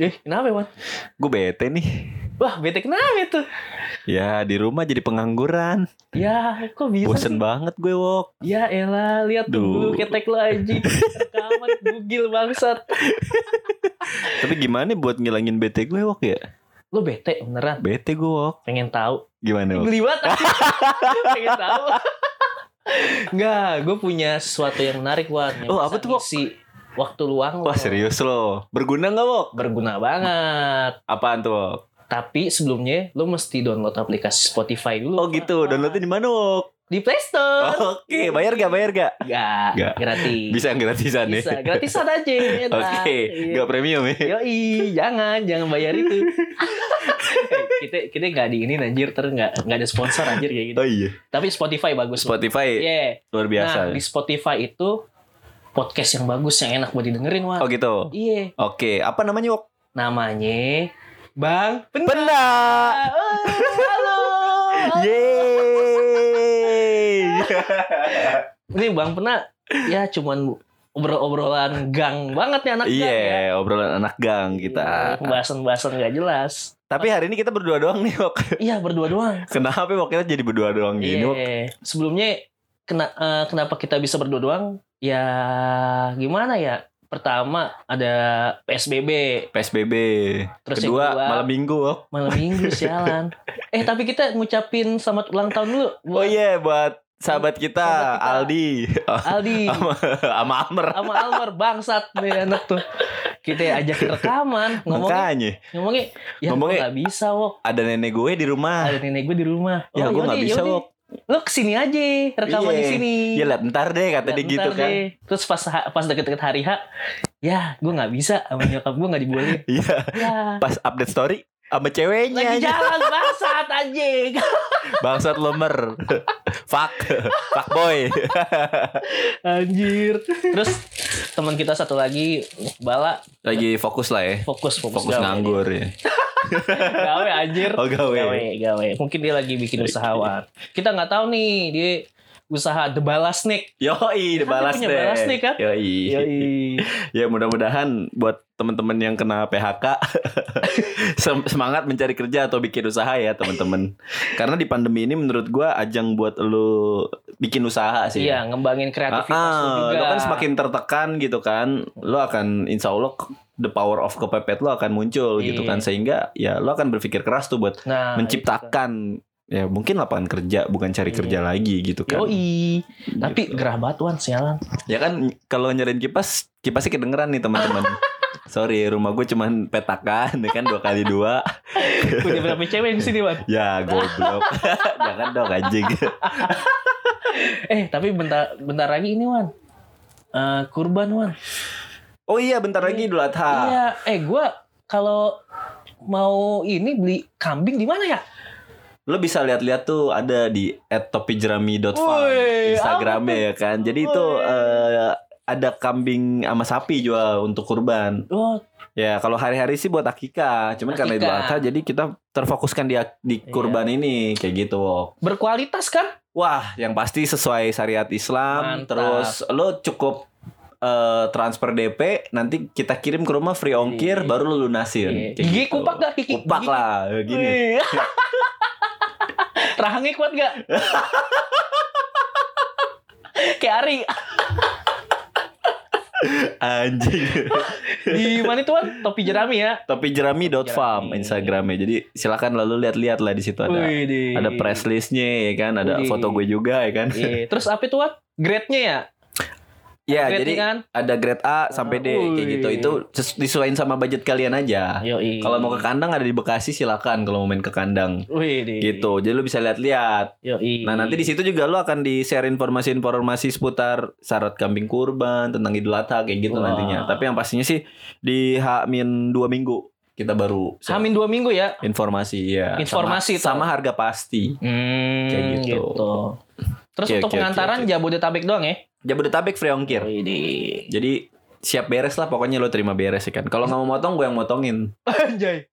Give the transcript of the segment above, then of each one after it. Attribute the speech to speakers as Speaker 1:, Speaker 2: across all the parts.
Speaker 1: Eh, kenapa, Wan?
Speaker 2: Gue bete nih.
Speaker 1: Wah, bete kenapa itu?
Speaker 2: Ya di rumah jadi pengangguran.
Speaker 1: Ya, kok bisa
Speaker 2: Bosen
Speaker 1: sih?
Speaker 2: banget gue wok.
Speaker 1: Ya elah, lihat tuh
Speaker 2: Duh.
Speaker 1: bulu ketek lo anjing. Rekaman bugil bangsat.
Speaker 2: Tapi gimana buat ngilangin bete gue wok ya?
Speaker 1: Lo bete beneran?
Speaker 2: Bete gue wok.
Speaker 1: Pengen tahu.
Speaker 2: Gimana wok?
Speaker 1: Geli banget. Pengen tahu. Enggak, gue punya sesuatu yang menarik, Wan.
Speaker 2: Oh,
Speaker 1: yang bisa
Speaker 2: apa tuh, Wak?
Speaker 1: ngisi waktu luang lo.
Speaker 2: Wah serius lo. Berguna nggak wok?
Speaker 1: Berguna banget.
Speaker 2: Apaan tuh wok?
Speaker 1: Tapi sebelumnya lo mesti download aplikasi Spotify dulu.
Speaker 2: Oh gitu.
Speaker 1: Wan.
Speaker 2: Downloadnya di mana wok?
Speaker 1: di Play Store.
Speaker 2: Oke. Bayar gak? Bayar gak?
Speaker 1: Enggak,
Speaker 2: Nggak.
Speaker 1: gratis.
Speaker 2: Bisa gratisan ya?
Speaker 1: Bisa, gratisan aja. ya,
Speaker 2: Oke.
Speaker 1: Wan. Iya.
Speaker 2: Gak premium ya?
Speaker 1: Yoi, jangan, jangan bayar itu. Eh, kita kita nggak di ini anjir, ter nggak nggak ada sponsor anjir kayak gitu.
Speaker 2: Oh iya.
Speaker 1: Tapi Spotify bagus.
Speaker 2: Spotify
Speaker 1: Yeah.
Speaker 2: luar biasa.
Speaker 1: Iya.
Speaker 2: ya.
Speaker 1: Nah, di Spotify itu podcast yang bagus yang enak buat didengerin, Wan.
Speaker 2: Oh gitu.
Speaker 1: Iya,
Speaker 2: Oke. Apa namanya wok?
Speaker 1: namanya Bang Penda.
Speaker 2: Penda.
Speaker 1: Oh, halo.
Speaker 2: Yeay.
Speaker 1: Ini Bang Pena ya cuman obrol-obrolan gang banget nih anak
Speaker 2: Iya,
Speaker 1: gang ya. Iya,
Speaker 2: obrolan anak gang kita.
Speaker 1: Pembahasan-pembahasan nggak jelas.
Speaker 2: Tapi hari ini kita berdua doang nih, Wok.
Speaker 1: Iya, berdua doang.
Speaker 2: Kenapa Wok kita jadi berdua doang gini, Wok?
Speaker 1: Iya. Sebelumnya kena- eh, kenapa kita bisa berdua doang? Ya gimana ya? Pertama ada PSBB,
Speaker 2: PSBB.
Speaker 1: iya. terus
Speaker 2: kedua,
Speaker 1: yang kedua
Speaker 2: malam Minggu, Wok.
Speaker 1: malam Minggu sialan. eh tapi kita ngucapin selamat ulang tahun dulu
Speaker 2: Oh
Speaker 1: buat
Speaker 2: iya, buat sahabat kita,
Speaker 1: Sahabat kita.
Speaker 2: Aldi
Speaker 1: Aldi
Speaker 2: sama sama Amer.
Speaker 1: sama Almer bangsat nih anak tuh. Kita ajak rekaman ngomongin
Speaker 2: Makanya
Speaker 1: ngomongnya ya
Speaker 2: Ngomongnya-
Speaker 1: gue gak bisa wok
Speaker 2: ada nenek gue di rumah.
Speaker 1: ada nenek gue di rumah
Speaker 2: Ya,
Speaker 1: Oh,
Speaker 2: gue
Speaker 1: yaudah,
Speaker 2: nggak bisa,
Speaker 1: yaudah.
Speaker 2: Wok.
Speaker 1: lo kesini aja rekaman di
Speaker 2: Iya.
Speaker 1: sini
Speaker 2: Ya lihat ntar deh kata dia
Speaker 1: Ntar
Speaker 2: gitu kan.
Speaker 1: deh. Terus pas pas deket-deket hari H, ya gue nggak bisa sama nyokap gue nggak dibolehin.
Speaker 2: Iya,
Speaker 1: Ya.
Speaker 2: pas update story sama
Speaker 1: Lagi
Speaker 2: ceweknya.
Speaker 1: jalan bangsat anjing.
Speaker 2: Bangsat lomer. Fuck. Fuck boy.
Speaker 1: Anjir. Terus teman kita satu lagi Bala
Speaker 2: Lagi fokus lah ya.
Speaker 1: fokus fokus,
Speaker 2: Fokus
Speaker 1: gawe.
Speaker 2: nganggur ya.
Speaker 1: Gawe anjir.
Speaker 2: Oh gawe.
Speaker 1: gawe gawe. Mungkin dia lagi bikin usahawan. Kita nggak tahu nih dia usaha The Bala Snack.
Speaker 2: Yoi,
Speaker 1: Kan
Speaker 2: dibalas
Speaker 1: dia punya
Speaker 2: deh.
Speaker 1: balas nih, kan?
Speaker 2: Yoi.
Speaker 1: Yoi.
Speaker 2: Ya mudah-mudahan buat teman-teman yang kena PHK sem- semangat mencari kerja atau bikin usaha ya teman-teman. Karena di pandemi ini menurut gua ajang buat lu bikin usaha sih.
Speaker 1: Iya, ngembangin
Speaker 2: Ah,
Speaker 1: kreativitas
Speaker 2: ah,
Speaker 1: lu juga.
Speaker 2: lo kan semakin tertekan gitu kan, lo akan insya Allah ke- the power of kepepet lo akan muncul gitu
Speaker 1: Iya.
Speaker 2: kan sehingga ya lo akan berpikir keras tuh buat
Speaker 1: nah,
Speaker 2: menciptakan ya mungkin lapangan kerja bukan cari
Speaker 1: Iya.
Speaker 2: kerja lagi gitu kan.
Speaker 1: Yoi. Tapi
Speaker 2: Gitu.
Speaker 1: gerah banget Wan, sialan.
Speaker 2: Ya kan kalau nyariin kipas, kipasnya kedengeran nih teman-teman. Sorry, rumah gue cuman petakan, ya kan dua kali dua.
Speaker 1: Punya berapa cewek di sini Wan?
Speaker 2: Ya goblok, jangan dong anjing.
Speaker 1: Eh tapi bentar bentar lagi ini Wan. Eh, kurban Wan.
Speaker 2: Oh iya, bentar lagi Idul Adha.
Speaker 1: Iya. Eh gua kalau mau ini beli kambing di mana ya?
Speaker 2: Lo bisa lihat-lihat tuh ada di @topijerami.farm
Speaker 1: Woi,
Speaker 2: Instagramnya ya kan. Jadi itu
Speaker 1: Woi.
Speaker 2: eh, ada kambing sama sapi jual untuk kurban.
Speaker 1: Oh,
Speaker 2: Ya kalau hari-hari sih buat akikah, cuman karena Idul
Speaker 1: Akikah.
Speaker 2: Adha jadi kita terfokuskan di di
Speaker 1: Iya.
Speaker 2: kurban ini kayak gitu. Wok.
Speaker 1: berkualitas kan?
Speaker 2: Wah, yang pasti sesuai syariat Islam.
Speaker 1: Mantap.
Speaker 2: Terus lo cukup eh, transfer DP, nanti kita kirim ke rumah free ongkir,
Speaker 1: Iya.
Speaker 2: baru lo lunasin.
Speaker 1: Iya.
Speaker 2: Kayak
Speaker 1: Gigi
Speaker 2: gitu.
Speaker 1: kupak gak? Gigi,
Speaker 2: Kupak
Speaker 1: gigi-
Speaker 2: lah, gini. Iya.
Speaker 1: Wih. Rahangnya kuat gak? Kayak Ari
Speaker 2: Anjing.
Speaker 1: di mana itu Wan? Topi jerami ya.
Speaker 2: Tapi jerami.farm
Speaker 1: Jerami.
Speaker 2: Instagramnya. Jadi silakan lalu lihat-lihat lah di situ ada
Speaker 1: Wih, di-
Speaker 2: ada press listnya ya kan, ada
Speaker 1: Wih.
Speaker 2: foto gue juga ya kan.
Speaker 1: Iya. Terus apa itu Wan? Grade-nya ya?
Speaker 2: Ya,
Speaker 1: Grade-nya
Speaker 2: jadi
Speaker 1: kan?
Speaker 2: ada grade A sampai D kayak
Speaker 1: Wih. Iya.
Speaker 2: gitu. Itu ses- disesuaikan sama budget kalian aja.
Speaker 1: Yoi.
Speaker 2: Kalau mau ke kandang ada di Bekasi silakan kalau mau main ke kandang.
Speaker 1: Wih, di-
Speaker 2: Gitu. Jadi lu bisa lihat-lihat.
Speaker 1: Yoi.
Speaker 2: Nah nanti di situ juga lo akan di share informasi-informasi seputar syarat kambing kurban tentang Idul Adha kayak gitu
Speaker 1: Wah.
Speaker 2: nantinya. Tapi yang pastinya sih di H-2 minggu kita baru share
Speaker 1: Hamin dua minggu ya.
Speaker 2: informasi ya.
Speaker 1: Informasi tuh.
Speaker 2: sama, sama harga pasti.
Speaker 1: Hmm,
Speaker 2: Kayak gitu.
Speaker 1: Terus
Speaker 2: Oke,
Speaker 1: untuk
Speaker 2: oke, oke,
Speaker 1: pengantaran
Speaker 2: Iya.
Speaker 1: Jabodetabek doang ya?
Speaker 2: Jabodetabek free ongkir.
Speaker 1: Wih, di-
Speaker 2: Jadi siap beres lah pokoknya lo terima beres ya kan. Kalau nggak mau motong gue yang motongin.
Speaker 1: Anjay.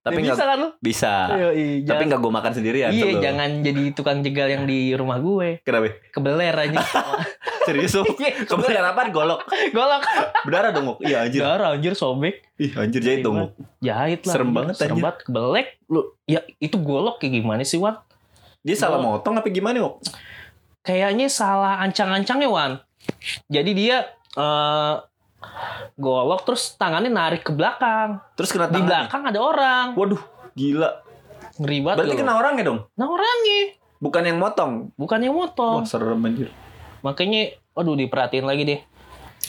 Speaker 2: Tapi
Speaker 1: Tapi
Speaker 2: nggak-
Speaker 1: bisa kan lu?
Speaker 2: Bisa.
Speaker 1: Yoi,
Speaker 2: Tapi
Speaker 1: jangan-
Speaker 2: nggak gue makan sendirian.
Speaker 1: Iya,
Speaker 2: tuh lo.
Speaker 1: jangan jadi tukang jegal yang di rumah gue.
Speaker 2: Kenapa?
Speaker 1: Kebeler aja.
Speaker 2: Serius lo? Kebetulan apaan golok?
Speaker 1: Golok.
Speaker 2: Berdarah dong, Ngok. Iya anjir.
Speaker 1: Darah anjir sobek.
Speaker 2: Ih, anjir jahit dong.
Speaker 1: Iya.
Speaker 2: Ngok.
Speaker 1: Jahit lah.
Speaker 2: Serem
Speaker 1: anjir.
Speaker 2: banget,
Speaker 1: Serem
Speaker 2: anjir.
Speaker 1: banget kebelek. Lu ya itu golok kayak gimana sih, Wan?
Speaker 2: Dia salah motong apa gimana, Ngok?
Speaker 1: Kayaknya salah ancang-ancangnya, Wan. Jadi dia eh golok terus tangannya narik ke belakang.
Speaker 2: Terus kena
Speaker 1: Di
Speaker 2: tangan.
Speaker 1: belakang ada orang.
Speaker 2: Waduh, gila.
Speaker 1: Ngeri banget.
Speaker 2: Berarti
Speaker 1: golok.
Speaker 2: kena orangnya dong,
Speaker 1: Nah orangnya.
Speaker 2: bukan yang motong.
Speaker 1: Bukan yang motong.
Speaker 2: Wah, serem anjir.
Speaker 1: Makanya aduh diperhatiin lagi deh.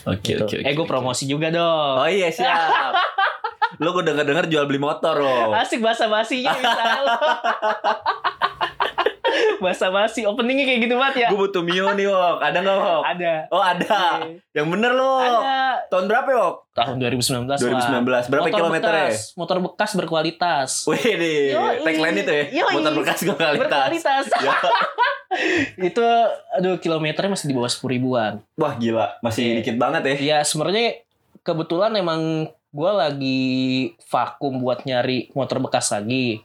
Speaker 2: Oke,
Speaker 1: Gitu. eh gue promosi juga dong.
Speaker 2: Oh iya, siap. Lo gue denger-denger jual beli motor lo.
Speaker 1: Asik bahasa basinya bisa lo. bahasa basi openingnya kayak gitu banget ya.
Speaker 2: Gue butuh Mio nih, Wok. Ada nggak, Wok?
Speaker 1: Ada.
Speaker 2: Oh, ada.
Speaker 1: Oke.
Speaker 2: Yang bener lo.
Speaker 1: Ada.
Speaker 2: Oh. Tahun berapa, ya, Wok?
Speaker 1: Tahun 2019 lah.
Speaker 2: 2019. Berapa
Speaker 1: Motor
Speaker 2: kilometer ya?
Speaker 1: bekas, Motor bekas berkualitas.
Speaker 2: Wih, nih.
Speaker 1: Yoi.
Speaker 2: Tagline itu ya.
Speaker 1: Yoi.
Speaker 2: Motor bekas gue kualitas.
Speaker 1: Berkualitas.
Speaker 2: Ya.
Speaker 1: itu aduh kilometernya masih di bawah 10 ribuan.
Speaker 2: Wah, gila. Masih
Speaker 1: Iya.
Speaker 2: dikit banget ya.
Speaker 1: Ya sebenarnya kebetulan emang gue lagi vakum buat nyari motor bekas lagi.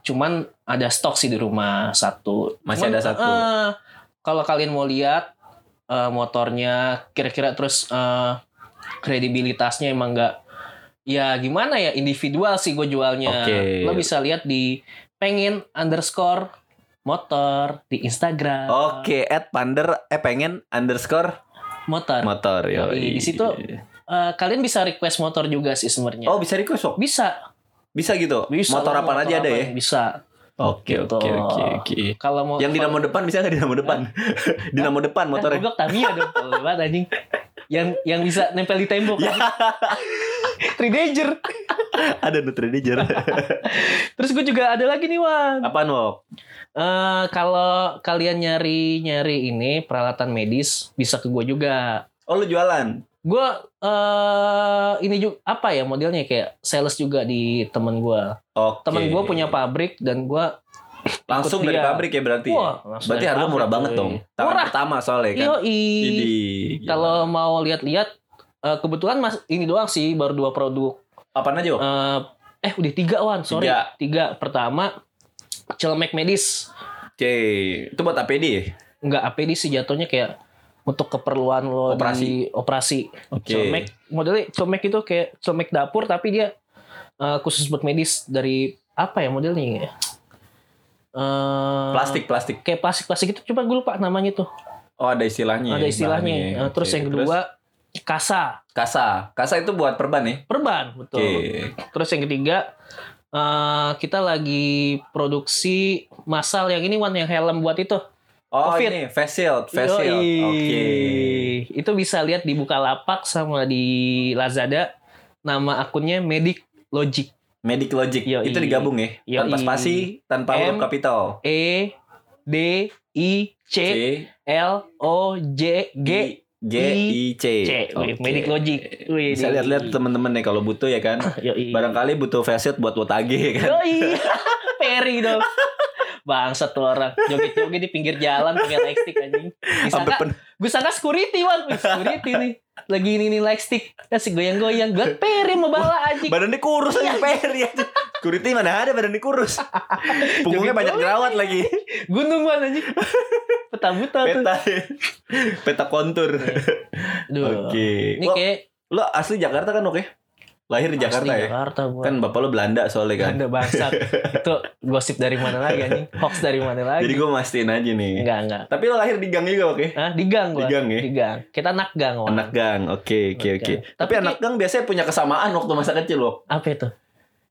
Speaker 1: Cuman ada stok sih di rumah satu.
Speaker 2: Masih
Speaker 1: Cuman,
Speaker 2: ada satu.
Speaker 1: eh, kalau kalian mau lihat eh, motornya kira-kira terus eh, kredibilitasnya emang nggak ya gimana ya individual sih gue jualnya.
Speaker 2: Oke.
Speaker 1: Lo bisa lihat di pengen underscore motor di Instagram.
Speaker 2: Oke, at pander eh pengen underscore
Speaker 1: Motor.
Speaker 2: motor ya.
Speaker 1: Yoi, di situ. Eh, kalian bisa request motor juga sih sebenarnya.
Speaker 2: Oh bisa request Wok?
Speaker 1: Bisa.
Speaker 2: Bisa gitu.
Speaker 1: Bisa
Speaker 2: motor
Speaker 1: lo,
Speaker 2: apaan aja ada ya?
Speaker 1: apaan, Bisa.
Speaker 2: Oke
Speaker 1: Gitu. Oh,
Speaker 2: oke oke oke.
Speaker 1: Kalau mau
Speaker 2: Yang dinamo depan bisa nggak dinamo depan? dinamo depan motornya.
Speaker 1: motor goblok Tamiya dong. Tolol banget anjing. Yang yang bisa nempel di tembok.
Speaker 2: Ya.
Speaker 1: Three Danger.
Speaker 2: ada nutridiger.
Speaker 1: Terus gue juga ada lagi nih Wan.
Speaker 2: apaan Wok?
Speaker 1: Eh, kalau kalian nyari-nyari ini peralatan medis bisa ke gue juga.
Speaker 2: Oh lu jualan?
Speaker 1: Gue eh ini juga apa ya modelnya kayak sales juga di temen gue.
Speaker 2: Oke.
Speaker 1: Temen gue punya pabrik dan gue
Speaker 2: Langsung
Speaker 1: ikut
Speaker 2: dari
Speaker 1: dia.
Speaker 2: pabrik ya berarti. ya?
Speaker 1: Wah, langsung
Speaker 2: Berarti
Speaker 1: dari
Speaker 2: harga
Speaker 1: pabrik,
Speaker 2: murah banget
Speaker 1: cuy.
Speaker 2: dong. Tangan
Speaker 1: Murah.
Speaker 2: pertama soalnya kan.
Speaker 1: Yoi.
Speaker 2: Jadi Iya.
Speaker 1: Kalau mau lihat-lihat, eh, kebetulan mas ini doang sih baru dua produk.
Speaker 2: apaan aja Wok?
Speaker 1: Eh, eh udah tiga wan, sorry
Speaker 2: Tiga.
Speaker 1: tiga. Pertama celemek medis,
Speaker 2: Oke, itu buat APD ya?
Speaker 1: nggak APD sih jatuhnya kayak untuk keperluan lo
Speaker 2: Operasi.
Speaker 1: di operasi.
Speaker 2: Oke.
Speaker 1: Celemek modelnya celemek itu kayak celemek dapur tapi dia eh, khusus buat medis dari apa ya modelnya? ya? Eh,
Speaker 2: Plastik, plastik.
Speaker 1: kayak plastik plastik itu coba gue lupa namanya tuh
Speaker 2: Oh ada istilahnya.
Speaker 1: ada istilahnya
Speaker 2: bahannya.
Speaker 1: Eh, terus
Speaker 2: Oke,
Speaker 1: yang kedua kasa
Speaker 2: Kasa. Kasa itu buat perban ya?
Speaker 1: perban betul
Speaker 2: Oke.
Speaker 1: Terus yang ketiga, eh, kita lagi produksi massal yang ini one yang helm buat itu.
Speaker 2: Oh
Speaker 1: Covid.
Speaker 2: ini face shield, face shield.
Speaker 1: Yoi.
Speaker 2: Oke.
Speaker 1: Itu bisa lihat di Bukalapak sama di Lazada. Nama akunnya Medic Logic
Speaker 2: Medic Logic
Speaker 1: Yoi.
Speaker 2: itu digabung ya.
Speaker 1: Yoi.
Speaker 2: Tanpa spasi, tanpa huruf
Speaker 1: M.
Speaker 2: kapital.
Speaker 1: E D I
Speaker 2: C
Speaker 1: C L O J E, G
Speaker 2: G
Speaker 1: I,
Speaker 2: I C.
Speaker 1: C.
Speaker 2: Oke.
Speaker 1: Wih, Medic Logic. Wih, Iya.
Speaker 2: Bisa
Speaker 1: di-
Speaker 2: lihat-lihat teman-teman nih kalau butuh ya kan.
Speaker 1: Yoi.
Speaker 2: Barangkali butuh face shield buat wotage ya kan.
Speaker 1: Yoi. Peri dong. Bangsat tuh orang. Joget-joget di pinggir jalan pakai lightstick anjing.
Speaker 2: Sampai
Speaker 1: Disangka
Speaker 2: pen-
Speaker 1: Gue sangka security wan Wih, Security nih Lagi ini nih lightstick Kasih goyang-goyang Gue peri mau bala anjing
Speaker 2: badannya kurus aja
Speaker 1: Iya.
Speaker 2: peri aja. Security mana ada badannya kurus. Punggungnya
Speaker 1: Joget
Speaker 2: banyak jerawat lagi.
Speaker 1: Gunung wan anjing Peta buta tuh
Speaker 2: Peta peta kontur.
Speaker 1: Aduh.
Speaker 2: Oke.
Speaker 1: Iya. Ini
Speaker 2: Wah,
Speaker 1: kayak
Speaker 2: Lo asli Jakarta kan oke? Lahir di Jakarta
Speaker 1: asli
Speaker 2: ya?
Speaker 1: Jakarta gue
Speaker 2: Kan bapak lo Belanda soalnya kan.
Speaker 1: Anda bangsat Itu gosip dari mana lagi anjing Hoax dari mana
Speaker 2: Jadi
Speaker 1: lagi
Speaker 2: gue mastiin aja nih.
Speaker 1: Enggak enggak
Speaker 2: Tapi lo lahir di gang juga oke?
Speaker 1: Hah, di gang gue
Speaker 2: Di gang ya?
Speaker 1: Di gang Kita anak gang wan
Speaker 2: Anak gang, oke oke
Speaker 1: Anak
Speaker 2: oke.
Speaker 1: gang.
Speaker 2: Tapi,
Speaker 1: Tapi
Speaker 2: anak gang biasanya punya kesamaan waktu masa kecil lo.
Speaker 1: Apa itu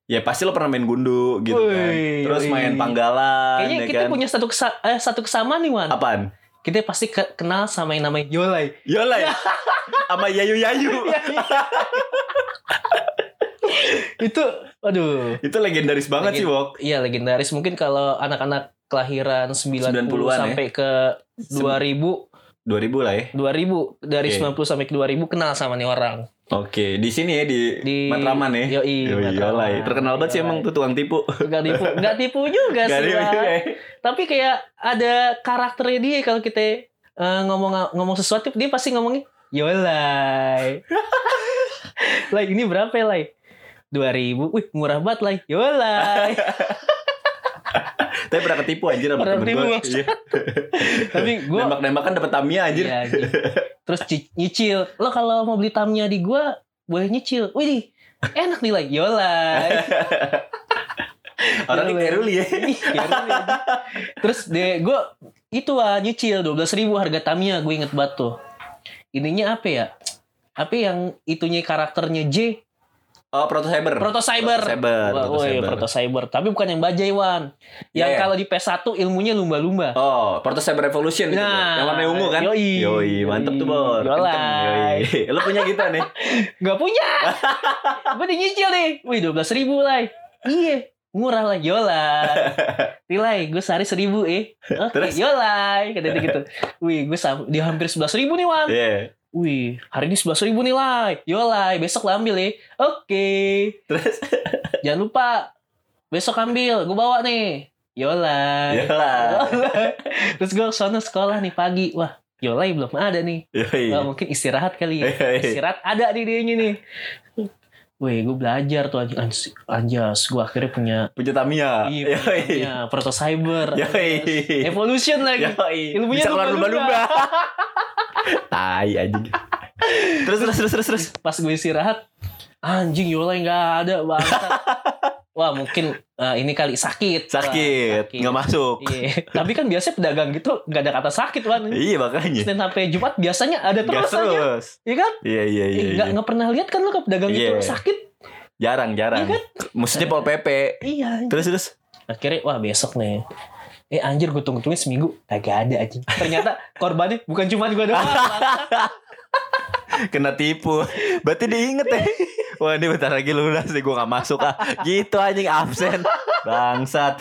Speaker 2: Ya pasti lo pernah main gundu gitu kan.
Speaker 1: Wih,
Speaker 2: Terus
Speaker 1: wih.
Speaker 2: main panggalan
Speaker 1: Kayaknya
Speaker 2: ya
Speaker 1: kita
Speaker 2: kan.
Speaker 1: punya satu kesa eh, satu kesamaan nih wan
Speaker 2: Apaan?
Speaker 1: Kita pasti ke- kenal sama yang namanya Yolai
Speaker 2: Yola ya? Sama Yayu Yayu.
Speaker 1: Itu Aduh
Speaker 2: Itu legendaris banget sih, Wok.
Speaker 1: Iya legendaris mungkin kalau anak-anak kelahiran 90,
Speaker 2: 90-an ya.
Speaker 1: sampai ke 2000
Speaker 2: 2000 lah ya.
Speaker 1: 2000 dari
Speaker 2: Oke.
Speaker 1: 90 sampai ke 2000 kenal sama nih orang
Speaker 2: Oke, di sini ya di,
Speaker 1: di
Speaker 2: Matraman ya.
Speaker 1: Yoi,
Speaker 2: Yoi,
Speaker 1: Matraman.
Speaker 2: Yola ya. Terkenal banget sih
Speaker 1: Yoi.
Speaker 2: emang tuh tukang tipu.
Speaker 1: Nggak tipu, nggak tipu juga
Speaker 2: Gak
Speaker 1: Iya sih.
Speaker 2: ada
Speaker 1: Bang.
Speaker 2: ya.
Speaker 1: Tapi kayak ada karakternya dia kalau kita eh, ngomong ngomong sesuatu dia pasti ngomongnya Yolai. Lai, ini berapa ya, Lai? 2000. Wih, murah banget, Lai. Yo, Lai.
Speaker 2: Tapi pernah ketipu anjir sama temen
Speaker 1: Pernah ketipu,
Speaker 2: gue.
Speaker 1: Bang. Tapi gue
Speaker 2: Nembak-nembak kan dapet tamia anjir.
Speaker 1: Iya, anjing. Terus ci- nyicil. Lo kalau mau beli tamnya di gua boleh nyicil. Wih, nih, enak nih like yola. Iya,
Speaker 2: Orangnya kayak Ruli ya.
Speaker 1: Terus deh gua itu ah nyicil 12.000 harga tamnya gue inget banget tuh. Ininya apa ya? Apa yang itunya karakternya J?
Speaker 2: Oh, Proto Cyber.
Speaker 1: Proto Cyber.
Speaker 2: Proto Cyber,
Speaker 1: Wah,
Speaker 2: Proto
Speaker 1: woy,
Speaker 2: Cyber.
Speaker 1: Proto Cyber. Tapi bukan yang bajai Wan. Yang
Speaker 2: Iya, iya.
Speaker 1: kalau di PS1 ilmunya lumba-lumba.
Speaker 2: Oh, Proto Cyber Revolution itu.
Speaker 1: Nah,
Speaker 2: yang warna ungu kan?
Speaker 1: yoi.
Speaker 2: Yoi, mantep tuh, Bor.
Speaker 1: Yolai.
Speaker 2: Kenceng, Yoi. Lu punya gitu nih.
Speaker 1: Gak punya. gue udah nyicil nih. Wih, 12 ribu lah. Iya. Murah lah, yola. Nilai, gue sehari seribu eh. Oke,
Speaker 2: Terus?
Speaker 1: yola. Kata dia gitu. Wih, gue sam- di hampir 11 ribu nih, Wan.
Speaker 2: Iya.
Speaker 1: Wih, hari ini 11 ribu nih, Lai. Yola, besok lah ambil eh. Oke.
Speaker 2: Terus
Speaker 1: Jangan lupa. Besok ambil, gue bawa nih. Yola.
Speaker 2: Yola.
Speaker 1: Terus gue sana sekolah nih pagi. Wah, yola belum ada nih.
Speaker 2: Yoi.
Speaker 1: Wah, mungkin istirahat kali ya.
Speaker 2: Yoi.
Speaker 1: Istirahat ada di dianya nih. Weh, gue belajar tuh anj- anj- anjas. Gue akhirnya punya
Speaker 2: Punya Tamiya.
Speaker 1: iya, punya proto
Speaker 2: Ah.
Speaker 1: cyber,
Speaker 2: Yoi.
Speaker 1: evolution lagi.
Speaker 2: Yoi.
Speaker 1: Ilmunya
Speaker 2: Bisa keluar
Speaker 1: lumba-lumba.
Speaker 2: lumba-lumba. Tai anjing. Terus terus terus terus terus.
Speaker 1: Pas gue istirahat, anjing Yola nggak ada bangsa. Wah mungkin eh, ini kali sakit. Wah,
Speaker 2: Sakit, nggak masuk.
Speaker 1: Iya. Tapi kan biasanya pedagang gitu nggak ada kata sakit wan.
Speaker 2: Iya makanya.
Speaker 1: Senin sampai Jumat biasanya ada
Speaker 2: Gas
Speaker 1: terus aja.
Speaker 2: terus.
Speaker 1: Iya kan?
Speaker 2: Iya iya
Speaker 1: Eh,
Speaker 2: iya.
Speaker 1: Nggak
Speaker 2: iya.
Speaker 1: nggak pernah lihat kan lo ke pedagang gitu
Speaker 2: Iya.
Speaker 1: sakit?
Speaker 2: Jarang jarang.
Speaker 1: Iya kan?
Speaker 2: Maksudnya Pol PP.
Speaker 1: Iya. anjing.
Speaker 2: Terus terus.
Speaker 1: Akhirnya wah besok nih. Eh anjir gue tunggu-tungguin seminggu kagak ada anjing. Ternyata korbannya bukan cuma gue doang. bangsa.
Speaker 2: Kena tipu. Berarti diinget ya. Wah ini bentar lagi lunas nih gue gak masuk ah. Gitu anjing absen. Bangsat.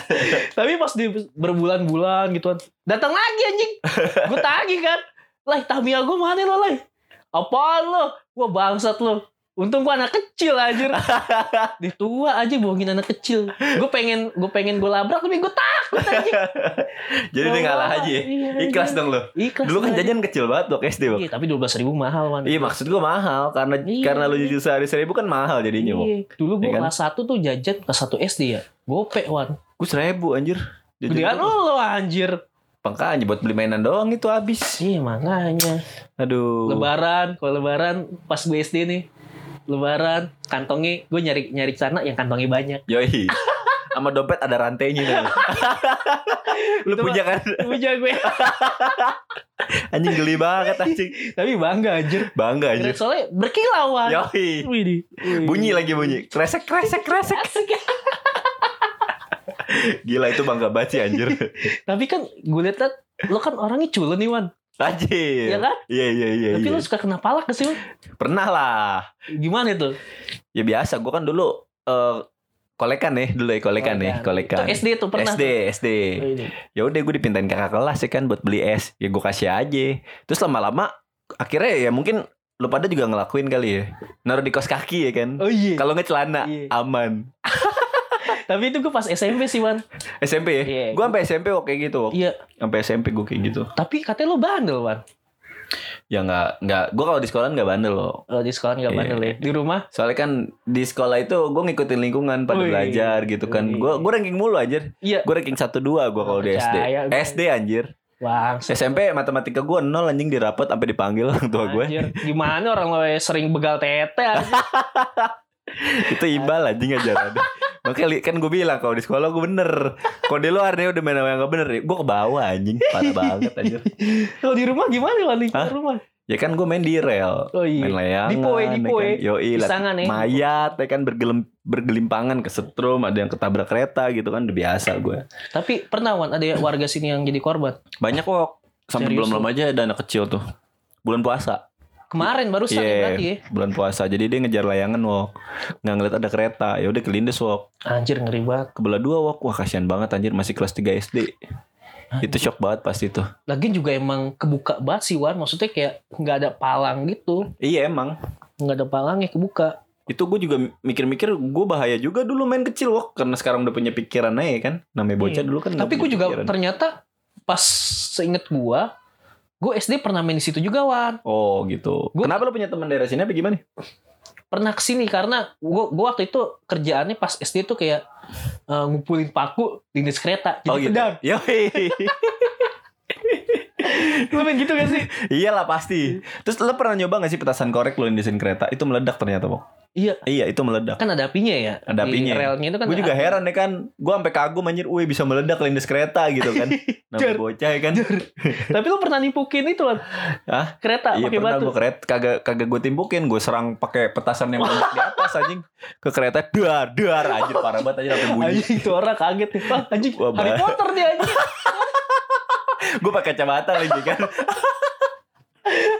Speaker 1: Tapi pas di berbulan-bulan gitu kan. Datang lagi anjing. Gue tagih kan. Lah Tamiya gue mana lo lah. Apaan lo? Wah bangsat lo. Untung gue anak kecil anjir. Di tua aja bohongin anak kecil. Gue pengen gue pengen gue labrak tapi gue takut anjing.
Speaker 2: Jadi dia ngalah aja. ya?
Speaker 1: Iya,
Speaker 2: Ikhlas
Speaker 1: iya.
Speaker 2: dong lo.
Speaker 1: Ikhlas.
Speaker 2: Dulu kan
Speaker 1: lah.
Speaker 2: jajan kecil banget loh SD Bang.
Speaker 1: Iya, tapi 12 ribu mahal man.
Speaker 2: Iya maksud gue mahal karena
Speaker 1: Iya.
Speaker 2: karena lu jujur sehari seribu kan mahal jadinya. Bang.
Speaker 1: Iya. Dulu gue
Speaker 2: Iya kan?
Speaker 1: kelas 1 tuh jajan kelas 1 SD ya. Gope wan.
Speaker 2: Gue seribu anjir. Jajan
Speaker 1: Gedean
Speaker 2: tuh.
Speaker 1: lo, lo anjir.
Speaker 2: Makanya buat beli mainan doang itu habis.
Speaker 1: Iya makanya.
Speaker 2: Aduh.
Speaker 1: Lebaran, kalau lebaran pas gue SD nih. Lebaran kantongnya gue nyari nyari sana yang kantongnya banyak.
Speaker 2: Yoi. Sama dompet ada rantainya tuh. lu
Speaker 1: Itu
Speaker 2: punya kan
Speaker 1: Punya gue.
Speaker 2: anjing geli banget anjing.
Speaker 1: Tapi bangga anjir.
Speaker 2: Bangga
Speaker 1: Keren
Speaker 2: anjir.
Speaker 1: soalnya berkilauan.
Speaker 2: Yoi.
Speaker 1: Widih. Widih.
Speaker 2: Bunyi lagi bunyi. Kresek kresek kresek.
Speaker 1: Asik. ya.
Speaker 2: Gila itu bangga banget sih anjir.
Speaker 1: Tapi kan gue liat kan lo kan orangnya culun nih Wan.
Speaker 2: Anjir.
Speaker 1: Iya kan?
Speaker 2: Iya iya iya.
Speaker 1: Tapi
Speaker 2: iya.
Speaker 1: lo suka kena palak gak sih Wan?
Speaker 2: Pernah lah.
Speaker 1: Gimana itu?
Speaker 2: Ya biasa gua kan dulu eh kolekan nih dulu ya kolekan, nih, kolekan.
Speaker 1: Itu SD tuh Oh, iya. pernah.
Speaker 2: SD, SD.
Speaker 1: tuh. Widih.
Speaker 2: Ya udah gue dipintain kakak kelas ya kan buat beli es. Ya gue kasih aja. Terus lama-lama akhirnya ya mungkin lu pada juga ngelakuin kali ya. Naruh di kos kaki ya kan.
Speaker 1: Oh iya.
Speaker 2: Kalau nggak celana
Speaker 1: Iya.
Speaker 2: aman.
Speaker 1: Tapi itu gue pas SMP sih Wan.
Speaker 2: SMP ya?
Speaker 1: Iya.
Speaker 2: Gue sampai SMP kok kayak gitu. Wok.
Speaker 1: Iya.
Speaker 2: Sampai SMP gue kayak gitu.
Speaker 1: Tapi katanya lo bandel Wan.
Speaker 2: Ya nggak nggak. Gue kalau di sekolah nggak bandel loh.
Speaker 1: Oh, di sekolah nggak
Speaker 2: Iya.
Speaker 1: bandel ya? Di rumah?
Speaker 2: Soalnya kan di sekolah itu gue ngikutin lingkungan pada
Speaker 1: Wih.
Speaker 2: belajar gitu kan.
Speaker 1: Wih.
Speaker 2: Gue gue ranking mulu anjir.
Speaker 1: Iya.
Speaker 2: Gue ranking 1 2 gue kalau di SD.
Speaker 1: Percaya gua.
Speaker 2: SD anjir.
Speaker 1: Bang,
Speaker 2: SMP matematika gue nol anjing di rapot sampai dipanggil orang tua gue.
Speaker 1: Anjir, gimana orang lo sering begal tete anjir.
Speaker 2: itu ibal anjing ajaran makanya li- kan gue bilang kalau di sekolah gue bener kalau di luar nih udah main sama yang gak bener gue ke bawah anjing parah banget anjir
Speaker 1: Kalau di rumah gimana lo di
Speaker 2: Hah?
Speaker 1: rumah?
Speaker 2: ya kan gue main di rel
Speaker 1: Oh
Speaker 2: main
Speaker 1: iya.
Speaker 2: layangan
Speaker 1: Di poe, di
Speaker 2: ya
Speaker 1: poe.
Speaker 2: kan. Yoi, lah.
Speaker 1: Pisangan ya.
Speaker 2: mayat ya kan bergelem, bergelimpangan ke setrum ada yang ketabrak kereta gitu kan udah biasa gue
Speaker 1: Tapi pernah Wan ada warga sini yang jadi korban.
Speaker 2: banyak kok sampai
Speaker 1: Serius
Speaker 2: belum
Speaker 1: lu?
Speaker 2: lama aja ada anak kecil tuh bulan puasa
Speaker 1: Kemarin baru sakit
Speaker 2: Iya.
Speaker 1: berarti ya.
Speaker 2: bulan puasa jadi dia ngejar layangan wok nggak ngeliat ada kereta ya udah kelindes wok
Speaker 1: Anjir ngeri banget.
Speaker 2: kebelah dua wok wah kasihan banget anjir masih kelas 3 SD itu shock banget pasti tuh
Speaker 1: Lagian juga emang kebuka banget sih Wan. Maksudnya kayak nggak ada palang gitu.
Speaker 2: iya emang
Speaker 1: Nggak ada palangnya kebuka.
Speaker 2: itu gue juga mikir-mikir gue bahaya juga dulu main kecil wok karena sekarang udah punya pikiran aja kan namanya bocah
Speaker 1: Iya.
Speaker 2: dulu kan nggak
Speaker 1: Tapi
Speaker 2: punya
Speaker 1: gue juga
Speaker 2: pikiran.
Speaker 1: ternyata pas seinget gua, gue SD pernah main di situ juga Wan.
Speaker 2: oh gitu
Speaker 1: Gua-
Speaker 2: kenapa lu punya teman daerah sini apa gimana
Speaker 1: pernah kesini karena gua, gua waktu itu kerjaannya pas SD tuh kayak eh, ngumpulin paku lintas kereta
Speaker 2: iya.
Speaker 1: jadi pedang.
Speaker 2: Oh, gitu. Yoi.
Speaker 1: Lu main gitu gak sih?
Speaker 2: Iyalah pasti. Terus lo pernah nyoba gak sih petasan korek lo yang desain kereta? Itu meledak ternyata, Bok.
Speaker 1: Iya,
Speaker 2: Iya, itu meledak.
Speaker 1: kan ada apinya ya.
Speaker 2: Ada
Speaker 1: Di
Speaker 2: apinya.
Speaker 1: relnya itu kan.
Speaker 2: Gue juga
Speaker 1: ada-
Speaker 2: heran ya kan. Gue sampai kagum anjir, "Wih, bisa meledak lindes kereta" gitu kan. Namanya
Speaker 1: Jor.
Speaker 2: bocah ya kan.
Speaker 1: Tapi lu pernah nimpukin itu lah.
Speaker 2: Hah?
Speaker 1: Kereta
Speaker 2: Iya,
Speaker 1: pakai
Speaker 2: pernah
Speaker 1: batu.
Speaker 2: gue kereta kagak kagak gue timpukin, gue serang pakai petasan yang meledak di atas anjing ke kereta dar dar anjir parah banget anjir sampai bunyi.
Speaker 1: Anjing itu orang kaget nih. Wah, anjing
Speaker 2: Wah,
Speaker 1: Harry
Speaker 2: bah-
Speaker 1: Potter dia anjing.
Speaker 2: Gue pakai kacamata lagi kan.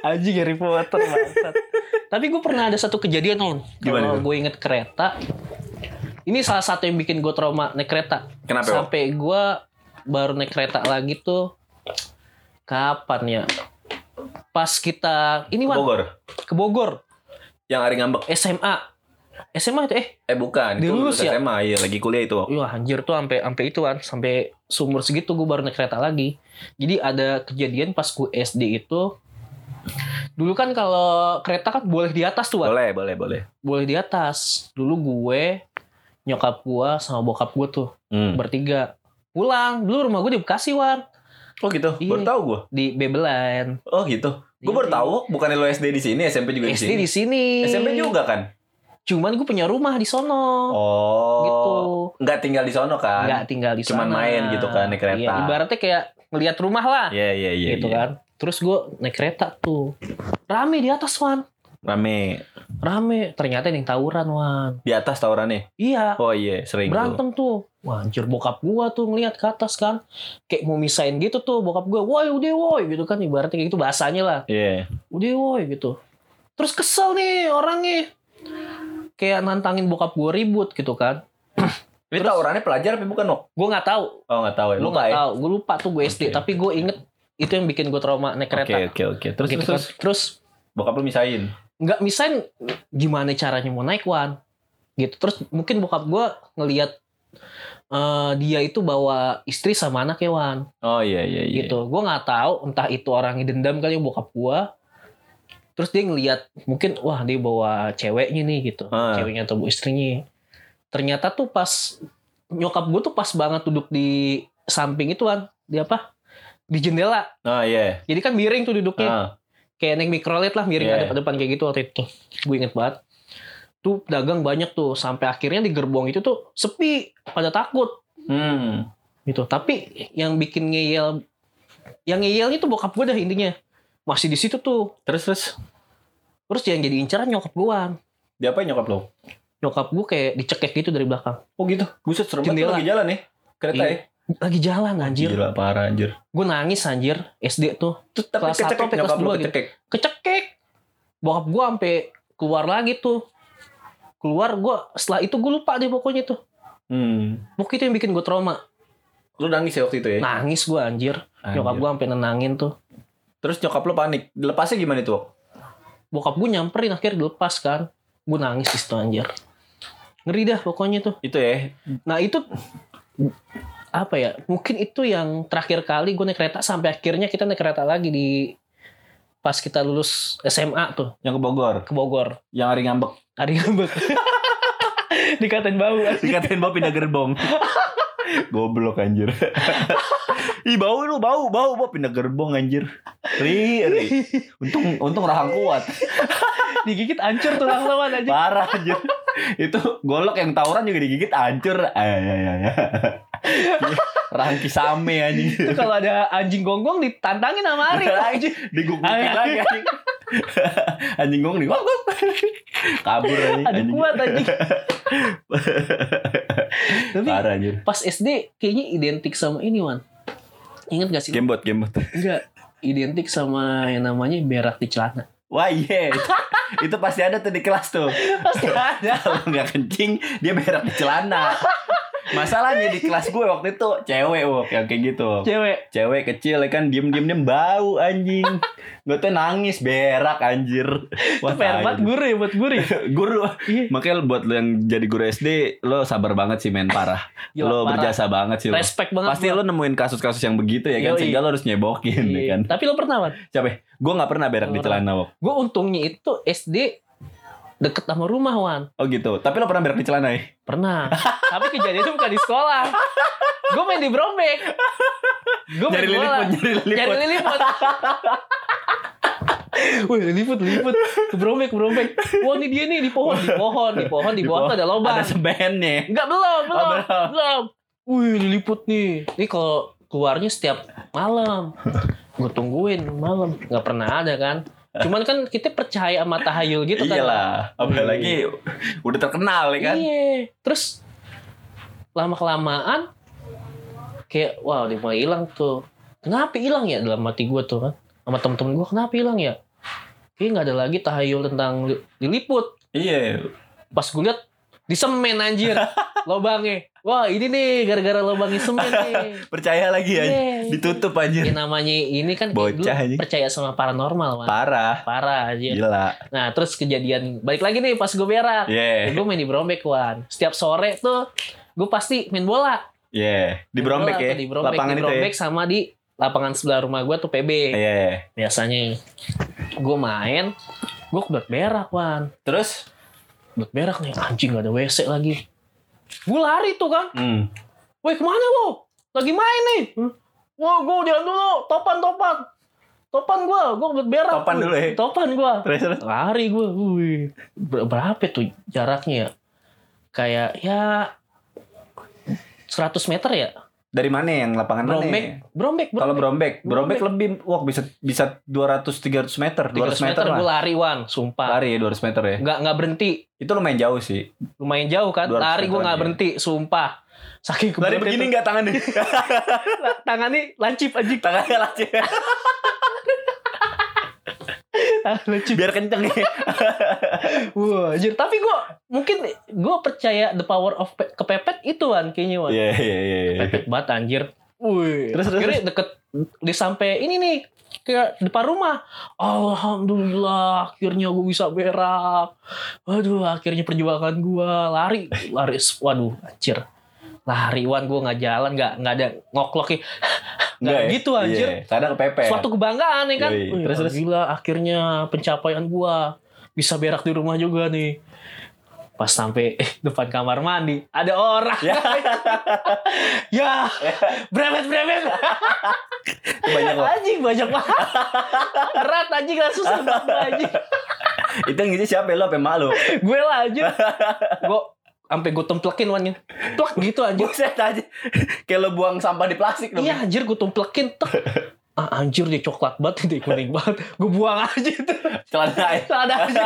Speaker 1: Anjing Harry Potter bangsat. Tapi gue pernah ada satu kejadian non.
Speaker 2: Gimana
Speaker 1: Kalau
Speaker 2: itu?
Speaker 1: gue inget kereta. Ini salah satu yang bikin gue trauma naik kereta.
Speaker 2: Kenapa, Wak?
Speaker 1: Sampai gue baru naik kereta lagi tuh kapan ya? Pas kita ini Wan,
Speaker 2: Bogor.
Speaker 1: ke Bogor
Speaker 2: Yang hari ngambek.
Speaker 1: SMA. SMA itu eh
Speaker 2: Eh bukan,
Speaker 1: Dia
Speaker 2: itu
Speaker 1: lulus ya?
Speaker 2: SMA, iya lagi kuliah itu. Wak.
Speaker 1: Wah anjir tuh sampai sampai itu kan sampai sumur segitu gue baru naik kereta lagi. Jadi ada kejadian pas gue SD itu dulu kan kalau kereta kan boleh di atas tuh, Wan.
Speaker 2: Boleh, boleh, boleh.
Speaker 1: boleh di atas. Dulu gue nyokap gue sama bokap gue tuh
Speaker 2: Hmm.
Speaker 1: bertiga pulang. Dulu rumah gue di Bekasi, Wan,
Speaker 2: Oh gitu,
Speaker 1: Iya.
Speaker 2: baru tahu gue.
Speaker 1: di Bebelan.
Speaker 2: Oh gitu. Gue baru tahu, bukan lo SD di sini, SMP juga di sini.
Speaker 1: SD di sini.
Speaker 2: SMP juga kan?
Speaker 1: Cuman gue punya rumah di sono.
Speaker 2: Oh.
Speaker 1: Gitu.
Speaker 2: Nggak tinggal di sono kan?
Speaker 1: Nggak tinggal di
Speaker 2: Cuman
Speaker 1: sana.
Speaker 2: main gitu kan, naik kereta.
Speaker 1: Iya, ibaratnya kayak ngeliat rumah lah.
Speaker 2: Iya, iya, iya.
Speaker 1: gitu
Speaker 2: iya.
Speaker 1: kan. Terus gue naik kereta tuh. Rame di atas, Wan.
Speaker 2: Rame.
Speaker 1: Rame. Ternyata ada yang tawuran, Wan.
Speaker 2: Di atas tawurannya.
Speaker 1: Iya.
Speaker 2: Oh iya, sering tuh.
Speaker 1: Berantem tuh. Wah, anjir bokap gua tuh ngelihat ke atas kan. Kayak mau misain gitu tuh bokap gua. Woi, udah woi gitu kan ibaratnya kayak gitu bahasanya lah.
Speaker 2: Iya.
Speaker 1: Udah woi gitu. Terus kesel nih orangnya. Kayak nantangin bokap gua ribut gitu kan.
Speaker 2: Ini tawurannya pelajar tapi bukan Wak?
Speaker 1: Gua nggak tahu,
Speaker 2: Oh nggak tahu ya.
Speaker 1: lu
Speaker 2: Lupa
Speaker 1: nggak
Speaker 2: ya?
Speaker 1: tahu. Gua lupa tuh gue SD,
Speaker 2: Oke.
Speaker 1: tapi gue inget itu yang bikin gue trauma naik
Speaker 2: Oke,
Speaker 1: kereta.
Speaker 2: oke, oke. Terus, terus,
Speaker 1: Gitu kan.
Speaker 2: terus.
Speaker 1: terus
Speaker 2: Bokap lu misain.
Speaker 1: nggak misain gimana caranya mau naik Wan gitu terus mungkin bokap gua ngelihat eh, dia itu bawa istri sama anaknya Wan
Speaker 2: Oh iya, iya, iya.
Speaker 1: gitu gua nggak tahu entah itu orangnya dendam kali ya bokap gua terus dia ngelihat mungkin wah dia bawa ceweknya nih gitu
Speaker 2: Ah.
Speaker 1: ceweknya atau bu istrinya ternyata tuh pas nyokap gua tuh pas banget duduk di samping itu Wan di apa di jendela
Speaker 2: Oh iya.
Speaker 1: jadi kan miring tuh duduknya
Speaker 2: Ah,
Speaker 1: kayak naik mikrolet lah miring
Speaker 2: Iya.
Speaker 1: ada depan kayak gitu waktu itu gue inget banget tuh dagang banyak tuh sampai akhirnya di gerbong itu tuh sepi pada takut
Speaker 2: Hmm.
Speaker 1: gitu tapi yang bikin ngeyel yang ngeyelnya tuh bokap gue dah intinya masih di situ tuh
Speaker 2: Terus, terus.
Speaker 1: terus yang jadi incaran nyokap gue
Speaker 2: Dia apa nyokap lo?
Speaker 1: nyokap gue kayak dicekek gitu dari belakang
Speaker 2: Oh gitu. Buset serem banget lu
Speaker 1: Jendela.
Speaker 2: lagi jalan ya. Kereta
Speaker 1: Iya.
Speaker 2: ya.
Speaker 1: lagi jalan anjir
Speaker 2: Gila parah anjir.
Speaker 1: gue nangis anjir SD tuh
Speaker 2: Terus tapi
Speaker 1: Kelas satu
Speaker 2: kecekek
Speaker 1: sampai
Speaker 2: nyokap
Speaker 1: kelas
Speaker 2: lu
Speaker 1: dua gitu.
Speaker 2: kecekek.
Speaker 1: kecekek bokap gue sampai keluar lagi tuh keluar gue setelah itu gue lupa deh pokoknya tuh
Speaker 2: Hmm.
Speaker 1: Pokoknya itu yang bikin gue trauma
Speaker 2: Lu nangis ya waktu itu ya?
Speaker 1: nangis gue Eh. anjir
Speaker 2: Anjir.
Speaker 1: Nah, nyokap gue sampai nenangin tuh
Speaker 2: Terus nyokap lu panik. Lepasnya gimana itu? Wak?
Speaker 1: bokap gue nyamperin akhirnya dilepas kan gue nangis di situ anjir ngeri dah pokoknya tuh
Speaker 2: Itu ya.
Speaker 1: nah itu apa ya mungkin itu yang terakhir kali gue naik kereta sampai akhirnya kita naik kereta lagi di pas kita lulus SMA tuh
Speaker 2: Yang ke Bogor.
Speaker 1: ke Bogor
Speaker 2: Yang hari ngambek.
Speaker 1: hari ngambek dikatain bau
Speaker 2: Dikatain bawa pindah gerbong. Goblok anjir. Ih bau lu bau bau bau pindah gerbong anjir. Ri, ri. Untung untung rahang kuat.
Speaker 1: digigit hancur tulang lawan aja
Speaker 2: Parah anjir. Itu golok yang tawuran juga digigit hancur. Ay, ay, ay, ay. Rahang kisame anjing.
Speaker 1: itu kalau ada anjing gonggong ditantangin sama Ari anjing
Speaker 2: Digugukin lagi anjing. anjing gong nih. Wak, wak. Kabur anjing.
Speaker 1: ada
Speaker 2: anjing.
Speaker 1: kuat anjing tapi
Speaker 2: Parah anjir.
Speaker 1: pas SD kayaknya identik sama ini Wan ingat gak sih
Speaker 2: Gamebot, gamebot.
Speaker 1: enggak identik sama yang namanya berak di celana
Speaker 2: Wah iya Itu- Itu pasti ada tuh di kelas tuh
Speaker 1: pasti ada
Speaker 2: Kalau nggak kencing Dia berak di celana Masalahnya di kelas gue waktu itu Cewek wok Yang kayak gitu Wok.
Speaker 1: cewek
Speaker 2: Cewek kecil ya kan Diem-diem bau anjing Gue tuh nangis Berak anjir
Speaker 1: itu
Speaker 2: tai.
Speaker 1: PR buat guru ya buat guru ya.
Speaker 2: Guru
Speaker 1: Iya.
Speaker 2: Makanya buat lo yang jadi guru SD Lo sabar banget sih men Parah
Speaker 1: Gila,
Speaker 2: Lo
Speaker 1: parah.
Speaker 2: berjasa banget sih lo
Speaker 1: respect banget
Speaker 2: Pasti
Speaker 1: gua.
Speaker 2: lo nemuin kasus-kasus yang begitu ya kan
Speaker 1: Yoi.
Speaker 2: Sehingga lo harus nyebokin ya
Speaker 1: Iya.
Speaker 2: kan
Speaker 1: tapi lo pernah Wan
Speaker 2: Siapa Gue nggak pernah berak
Speaker 1: Nggak
Speaker 2: di
Speaker 1: pernah.
Speaker 2: celana wok
Speaker 1: gue untungnya itu SD deket sama rumah Wan
Speaker 2: Oh gitu. Tapi lo pernah berak di celana ya?
Speaker 1: pernah tapi kejadiannya bukan di sekolah gue main di Brombek gue main
Speaker 2: Nyari
Speaker 1: bola
Speaker 2: liliput, nyari
Speaker 1: nyari
Speaker 2: liliput.
Speaker 1: liliput Wih, liliput, liliput. Ke Brombek, ke Brombek. Wah, ini dia nih di pohon, di pohon, di pohon,
Speaker 2: Di
Speaker 1: di bawah tuh ada lobang.
Speaker 2: Ada sebennya.
Speaker 1: Enggak belum, belum,
Speaker 2: Ah, belum.
Speaker 1: belum. Wih, liliput nih. Ini kalau keluarnya setiap malam. Gue tungguin malam, nggak pernah ada kan. Cuman kan kita percaya sama tahayul gitu kan.
Speaker 2: Iyalah, apalagi udah terkenal ya kan.
Speaker 1: Iya. Terus lama kelamaan kayak wow dia mulai hilang tuh. Kenapa hilang ya dalam hati gue tuh kan? Sama temen-temen gue kenapa hilang ya? Kayak nggak ada lagi tahayul tentang li- liliput.
Speaker 2: Iya.
Speaker 1: Pas gue liat di semen anjir lobangnya. Wah ini nih gara-gara lobangnya semen nih.
Speaker 2: Percaya lagi ya.
Speaker 1: Iya.
Speaker 2: Ditutup
Speaker 1: Ya
Speaker 2: anjir.
Speaker 1: namanya ini kan kayak dulu
Speaker 2: Bocah, anjing. Iya.
Speaker 1: percaya sama paranormal man.
Speaker 2: Parah.
Speaker 1: Parah aja.
Speaker 2: Gila. Iya,
Speaker 1: Nah terus kejadian balik lagi nih pas gue berak.
Speaker 2: Yeah.
Speaker 1: gue main di Brombek Wan. Setiap sore tuh gue pasti main bola.
Speaker 2: Yeah. Di
Speaker 1: Main
Speaker 2: Brombek
Speaker 1: bola
Speaker 2: ya.
Speaker 1: atau Di Brombek,
Speaker 2: Lapangan
Speaker 1: di
Speaker 2: itu ya.
Speaker 1: Brombek sama di lapangan sebelah rumah gue tuh PB.
Speaker 2: Iya.
Speaker 1: Biasanya gue main, gue kebelet berak Wan.
Speaker 2: Terus?
Speaker 1: Kebelet berak nih, anjing gak ada WC lagi. Gue lari tuh kan,
Speaker 2: Hmm.
Speaker 1: woi kemana lo? Lagi main nih. Hmm. Wah gue jalan dulu, topan topan. Topan gue, gue kebelet berak.
Speaker 2: Topan dulu ya.
Speaker 1: Topan gue.
Speaker 2: Terus terus.
Speaker 1: lari gue wih Ber- berapa tuh jaraknya ya? kayak ya 100 meter ya
Speaker 2: Dari mana yang lapangan mana?
Speaker 1: brombek
Speaker 2: ya?
Speaker 1: brombek
Speaker 2: Kalau
Speaker 1: brombek
Speaker 2: Brombek, Brombek lebih wah bisa bisa 200 300 meter, 200
Speaker 1: 300 meter
Speaker 2: meter
Speaker 1: gue
Speaker 2: lah.
Speaker 1: lari wan sumpah
Speaker 2: Lari ya 200 meter ya.
Speaker 1: nggak nggak berhenti
Speaker 2: Itu lumayan jauh sih.
Speaker 1: lumayan jauh kan
Speaker 2: 200
Speaker 1: lari gue
Speaker 2: meteran,
Speaker 1: nggak
Speaker 2: iya.
Speaker 1: berhenti sumpah saking
Speaker 2: Lari
Speaker 1: kebeletnya
Speaker 2: begini
Speaker 1: tuh.
Speaker 2: enggak tangannya?
Speaker 1: tangannya lancip aja
Speaker 2: tangannya lancip.
Speaker 1: lancip
Speaker 2: Biar kenceng ya.
Speaker 1: wah anjir tapi gue mungkin gue percaya the power of pe- kepepet itu wan kayaknya wan
Speaker 2: Iya iya iya. iya.
Speaker 1: Pepet banget anjir. Wih.
Speaker 2: Terus,
Speaker 1: Terus
Speaker 2: terus,
Speaker 1: deket di sampai ini nih ke depan rumah. Alhamdulillah akhirnya gue bisa berak. Waduh akhirnya perjuangan gue lari lari waduh anjir. Lari wan gue nggak jalan nggak nggak ada ngoklok ya. Nggak
Speaker 2: ya?
Speaker 1: gitu anjir.
Speaker 2: Iya, Kadang kepepet.
Speaker 1: Suatu kebanggaan ya kan.
Speaker 2: Yoi.
Speaker 1: Wih,
Speaker 2: Terus, terus.
Speaker 1: Gila akhirnya pencapaian gue bisa berak di rumah juga nih. Pas sampai depan kamar mandi ada orang.
Speaker 2: Ya.
Speaker 1: ya. Brevet brevet.
Speaker 2: banyak loh.
Speaker 1: Anjing banyak banget. Berat anjing langsung sebat gua, anjing.
Speaker 2: Itu yang ngisi siapa ya? lo apa emak lo?
Speaker 1: Gue lah anjing. Gue sampai gue templekin wannya. Plak gitu anjing.
Speaker 2: Buset aja. Kayak lo buang sampah di plastik dong.
Speaker 1: Iya anjir gue templekin. Tek. Ah, anjir dia coklat banget dia kuning banget. Gue buang aja itu.
Speaker 2: Celana ya. aja.
Speaker 1: Ada aja.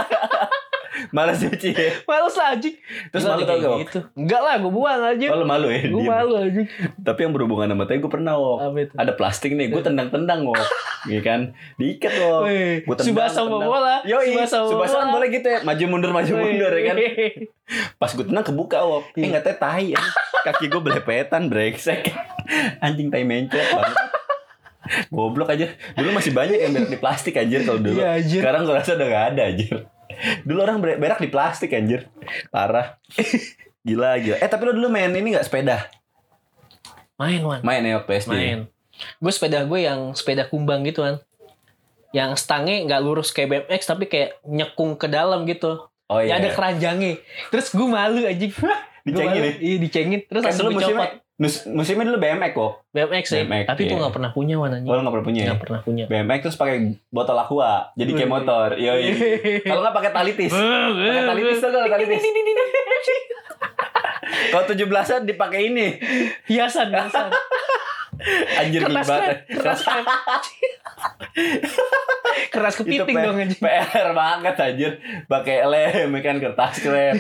Speaker 2: Males cuci ya.
Speaker 1: Iya. Males lah, anjing.
Speaker 2: Terus
Speaker 1: Gila,
Speaker 2: malu
Speaker 1: dia
Speaker 2: tau
Speaker 1: kayak
Speaker 2: gak?
Speaker 1: gitu. Enggak lah gue buang aja.
Speaker 2: Oh, lo malu ya?
Speaker 1: Gue
Speaker 2: Diem.
Speaker 1: malu anjing.
Speaker 2: Tapi yang berhubungan sama tai gue pernah, Wok.
Speaker 1: Apa itu?
Speaker 2: Ada plastik nih, gue tendang-tendang, Wok. Iya kan? Diikat, Wok.
Speaker 1: Wih,
Speaker 2: Gua tendang,
Speaker 1: Subasa sama
Speaker 2: tendang.
Speaker 1: bola.
Speaker 2: Yoi,
Speaker 1: Subasa sama
Speaker 2: Subasa kan
Speaker 1: bola.
Speaker 2: boleh gitu ya. Maju mundur, maju
Speaker 1: Wih.
Speaker 2: mundur ya kan. Pas gue tenang kebuka, Wok. Eh,
Speaker 1: Iya.
Speaker 2: nggak tahu tai. ya. Kaki gue belepetan, brengsek. Anjing tai mencret banget. Goblok aja. Dulu masih banyak yang berak di plastik anjir kalau dulu.
Speaker 1: Iya, anjir.
Speaker 2: Sekarang gue rasa udah gak ada anjir. Dulu orang ber- berak di plastik anjir. Parah. Gila, gila. Eh, tapi lo dulu main ini gak sepeda?
Speaker 1: Main wan.
Speaker 2: Main ya, waktu SD.
Speaker 1: main. Gue sepeda gue yang sepeda kumbang gitu kan. Yang stangnya nggak lurus kayak BMX tapi kayak nyekung ke dalam gitu.
Speaker 2: Oh iya.
Speaker 1: Ya ada keranjangnya. Terus gue malu aja.
Speaker 2: Dicengin ya?
Speaker 1: Iya dicengin. Terus
Speaker 2: Kan
Speaker 1: langsung
Speaker 2: dulu musimnya,
Speaker 1: dicopot.
Speaker 2: mus- musimnya dulu BMX kok.
Speaker 1: BMX ya.
Speaker 2: BMX,
Speaker 1: tapi gue
Speaker 2: iya.
Speaker 1: nggak pernah punya
Speaker 2: Oh,
Speaker 1: warnanya.
Speaker 2: lo gak pernah punya ya?
Speaker 1: Nggak pernah punya.
Speaker 2: BMX terus pakai botol aqua. Jadi kayak
Speaker 1: Wih.
Speaker 2: motor. Yoi. Kalau nggak pakai talitis. Pakai talitis tuh kalau talitis. Kalau 17-an dipakai ini.
Speaker 1: hiasan hiasan
Speaker 2: Anjir
Speaker 1: kertas
Speaker 2: gibat.
Speaker 1: krep kertas krep keras
Speaker 2: Itu
Speaker 1: kepiting
Speaker 2: P-
Speaker 1: dong anjing
Speaker 2: PR banget anjir. Pakai lem kan kertas krep.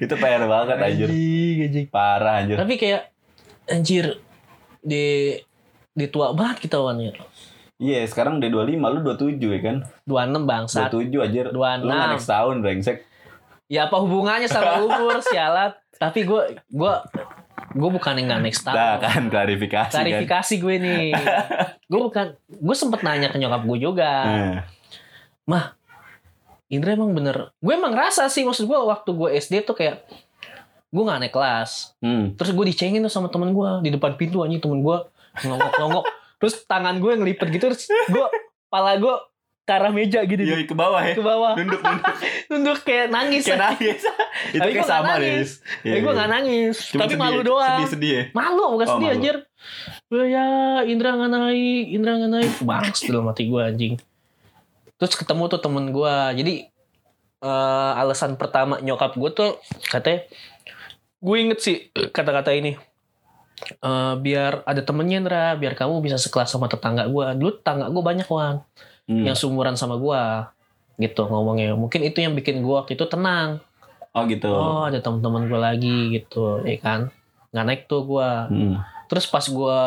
Speaker 2: Itu PR banget anjir.
Speaker 1: Anjing, anjing.
Speaker 2: Parah anjir.
Speaker 1: tapi kayak anjir di di tua banget kita wan ya
Speaker 2: Iya, sekarang udah 25, lu 27 ya kan?
Speaker 1: 26 bangsat
Speaker 2: 27 anjir. Lu
Speaker 1: 26.
Speaker 2: nggak next tahun brengsek.
Speaker 1: ya apa hubungannya sama umur sialat tapi gue gue gue bukan yang nggak next tahun
Speaker 2: Nah, kan klarifikasi, kan.
Speaker 1: klarifikasi gue nih gue bukan gue sempet nanya ke nyokap gue juga
Speaker 2: Nah.
Speaker 1: Indra emang bener gue emang ngerasa sih maksud gue waktu gue SD tuh kayak gue nggak naik kelas
Speaker 2: Hmm.
Speaker 1: terus gue dicengin tuh sama temen gue di depan pintu anjing temen gue nongok nongok terus tangan gue ngelipet gitu terus gue pala gue ke arah meja gitu
Speaker 2: Yoi ke bawah ya.
Speaker 1: ke bawah
Speaker 2: Nunduk nunduk
Speaker 1: nunduk kayak nangis
Speaker 2: kayak nangis. Itu kayak
Speaker 1: Tapi gua nggak
Speaker 2: sama
Speaker 1: nangis.
Speaker 2: deh.
Speaker 1: tapi gue nggak nangis tapi malu doang
Speaker 2: Sedih sedih ya.
Speaker 1: malu bukan
Speaker 2: Oh,
Speaker 1: sedih
Speaker 2: malu.
Speaker 1: anjir Gua, ya Indra nggak naik Indra nggak naik bangs dalam hati gue anjing terus ketemu tuh temen gue jadi eh, alasan pertama nyokap gue tuh katanya gue inget sih kata-kata ini Eh, biar ada temennya Indra biar kamu bisa sekelas sama tetangga gue dulu tetangga gue banyak wan
Speaker 2: Hmm.
Speaker 1: yang seumuran sama gue gitu ngomongnya mungkin itu yang bikin gue waktu itu tenang
Speaker 2: Oh gitu.
Speaker 1: oh ada teman-teman gue lagi gitu ya kan nggak naik tuh gue
Speaker 2: Hmm.
Speaker 1: terus pas gue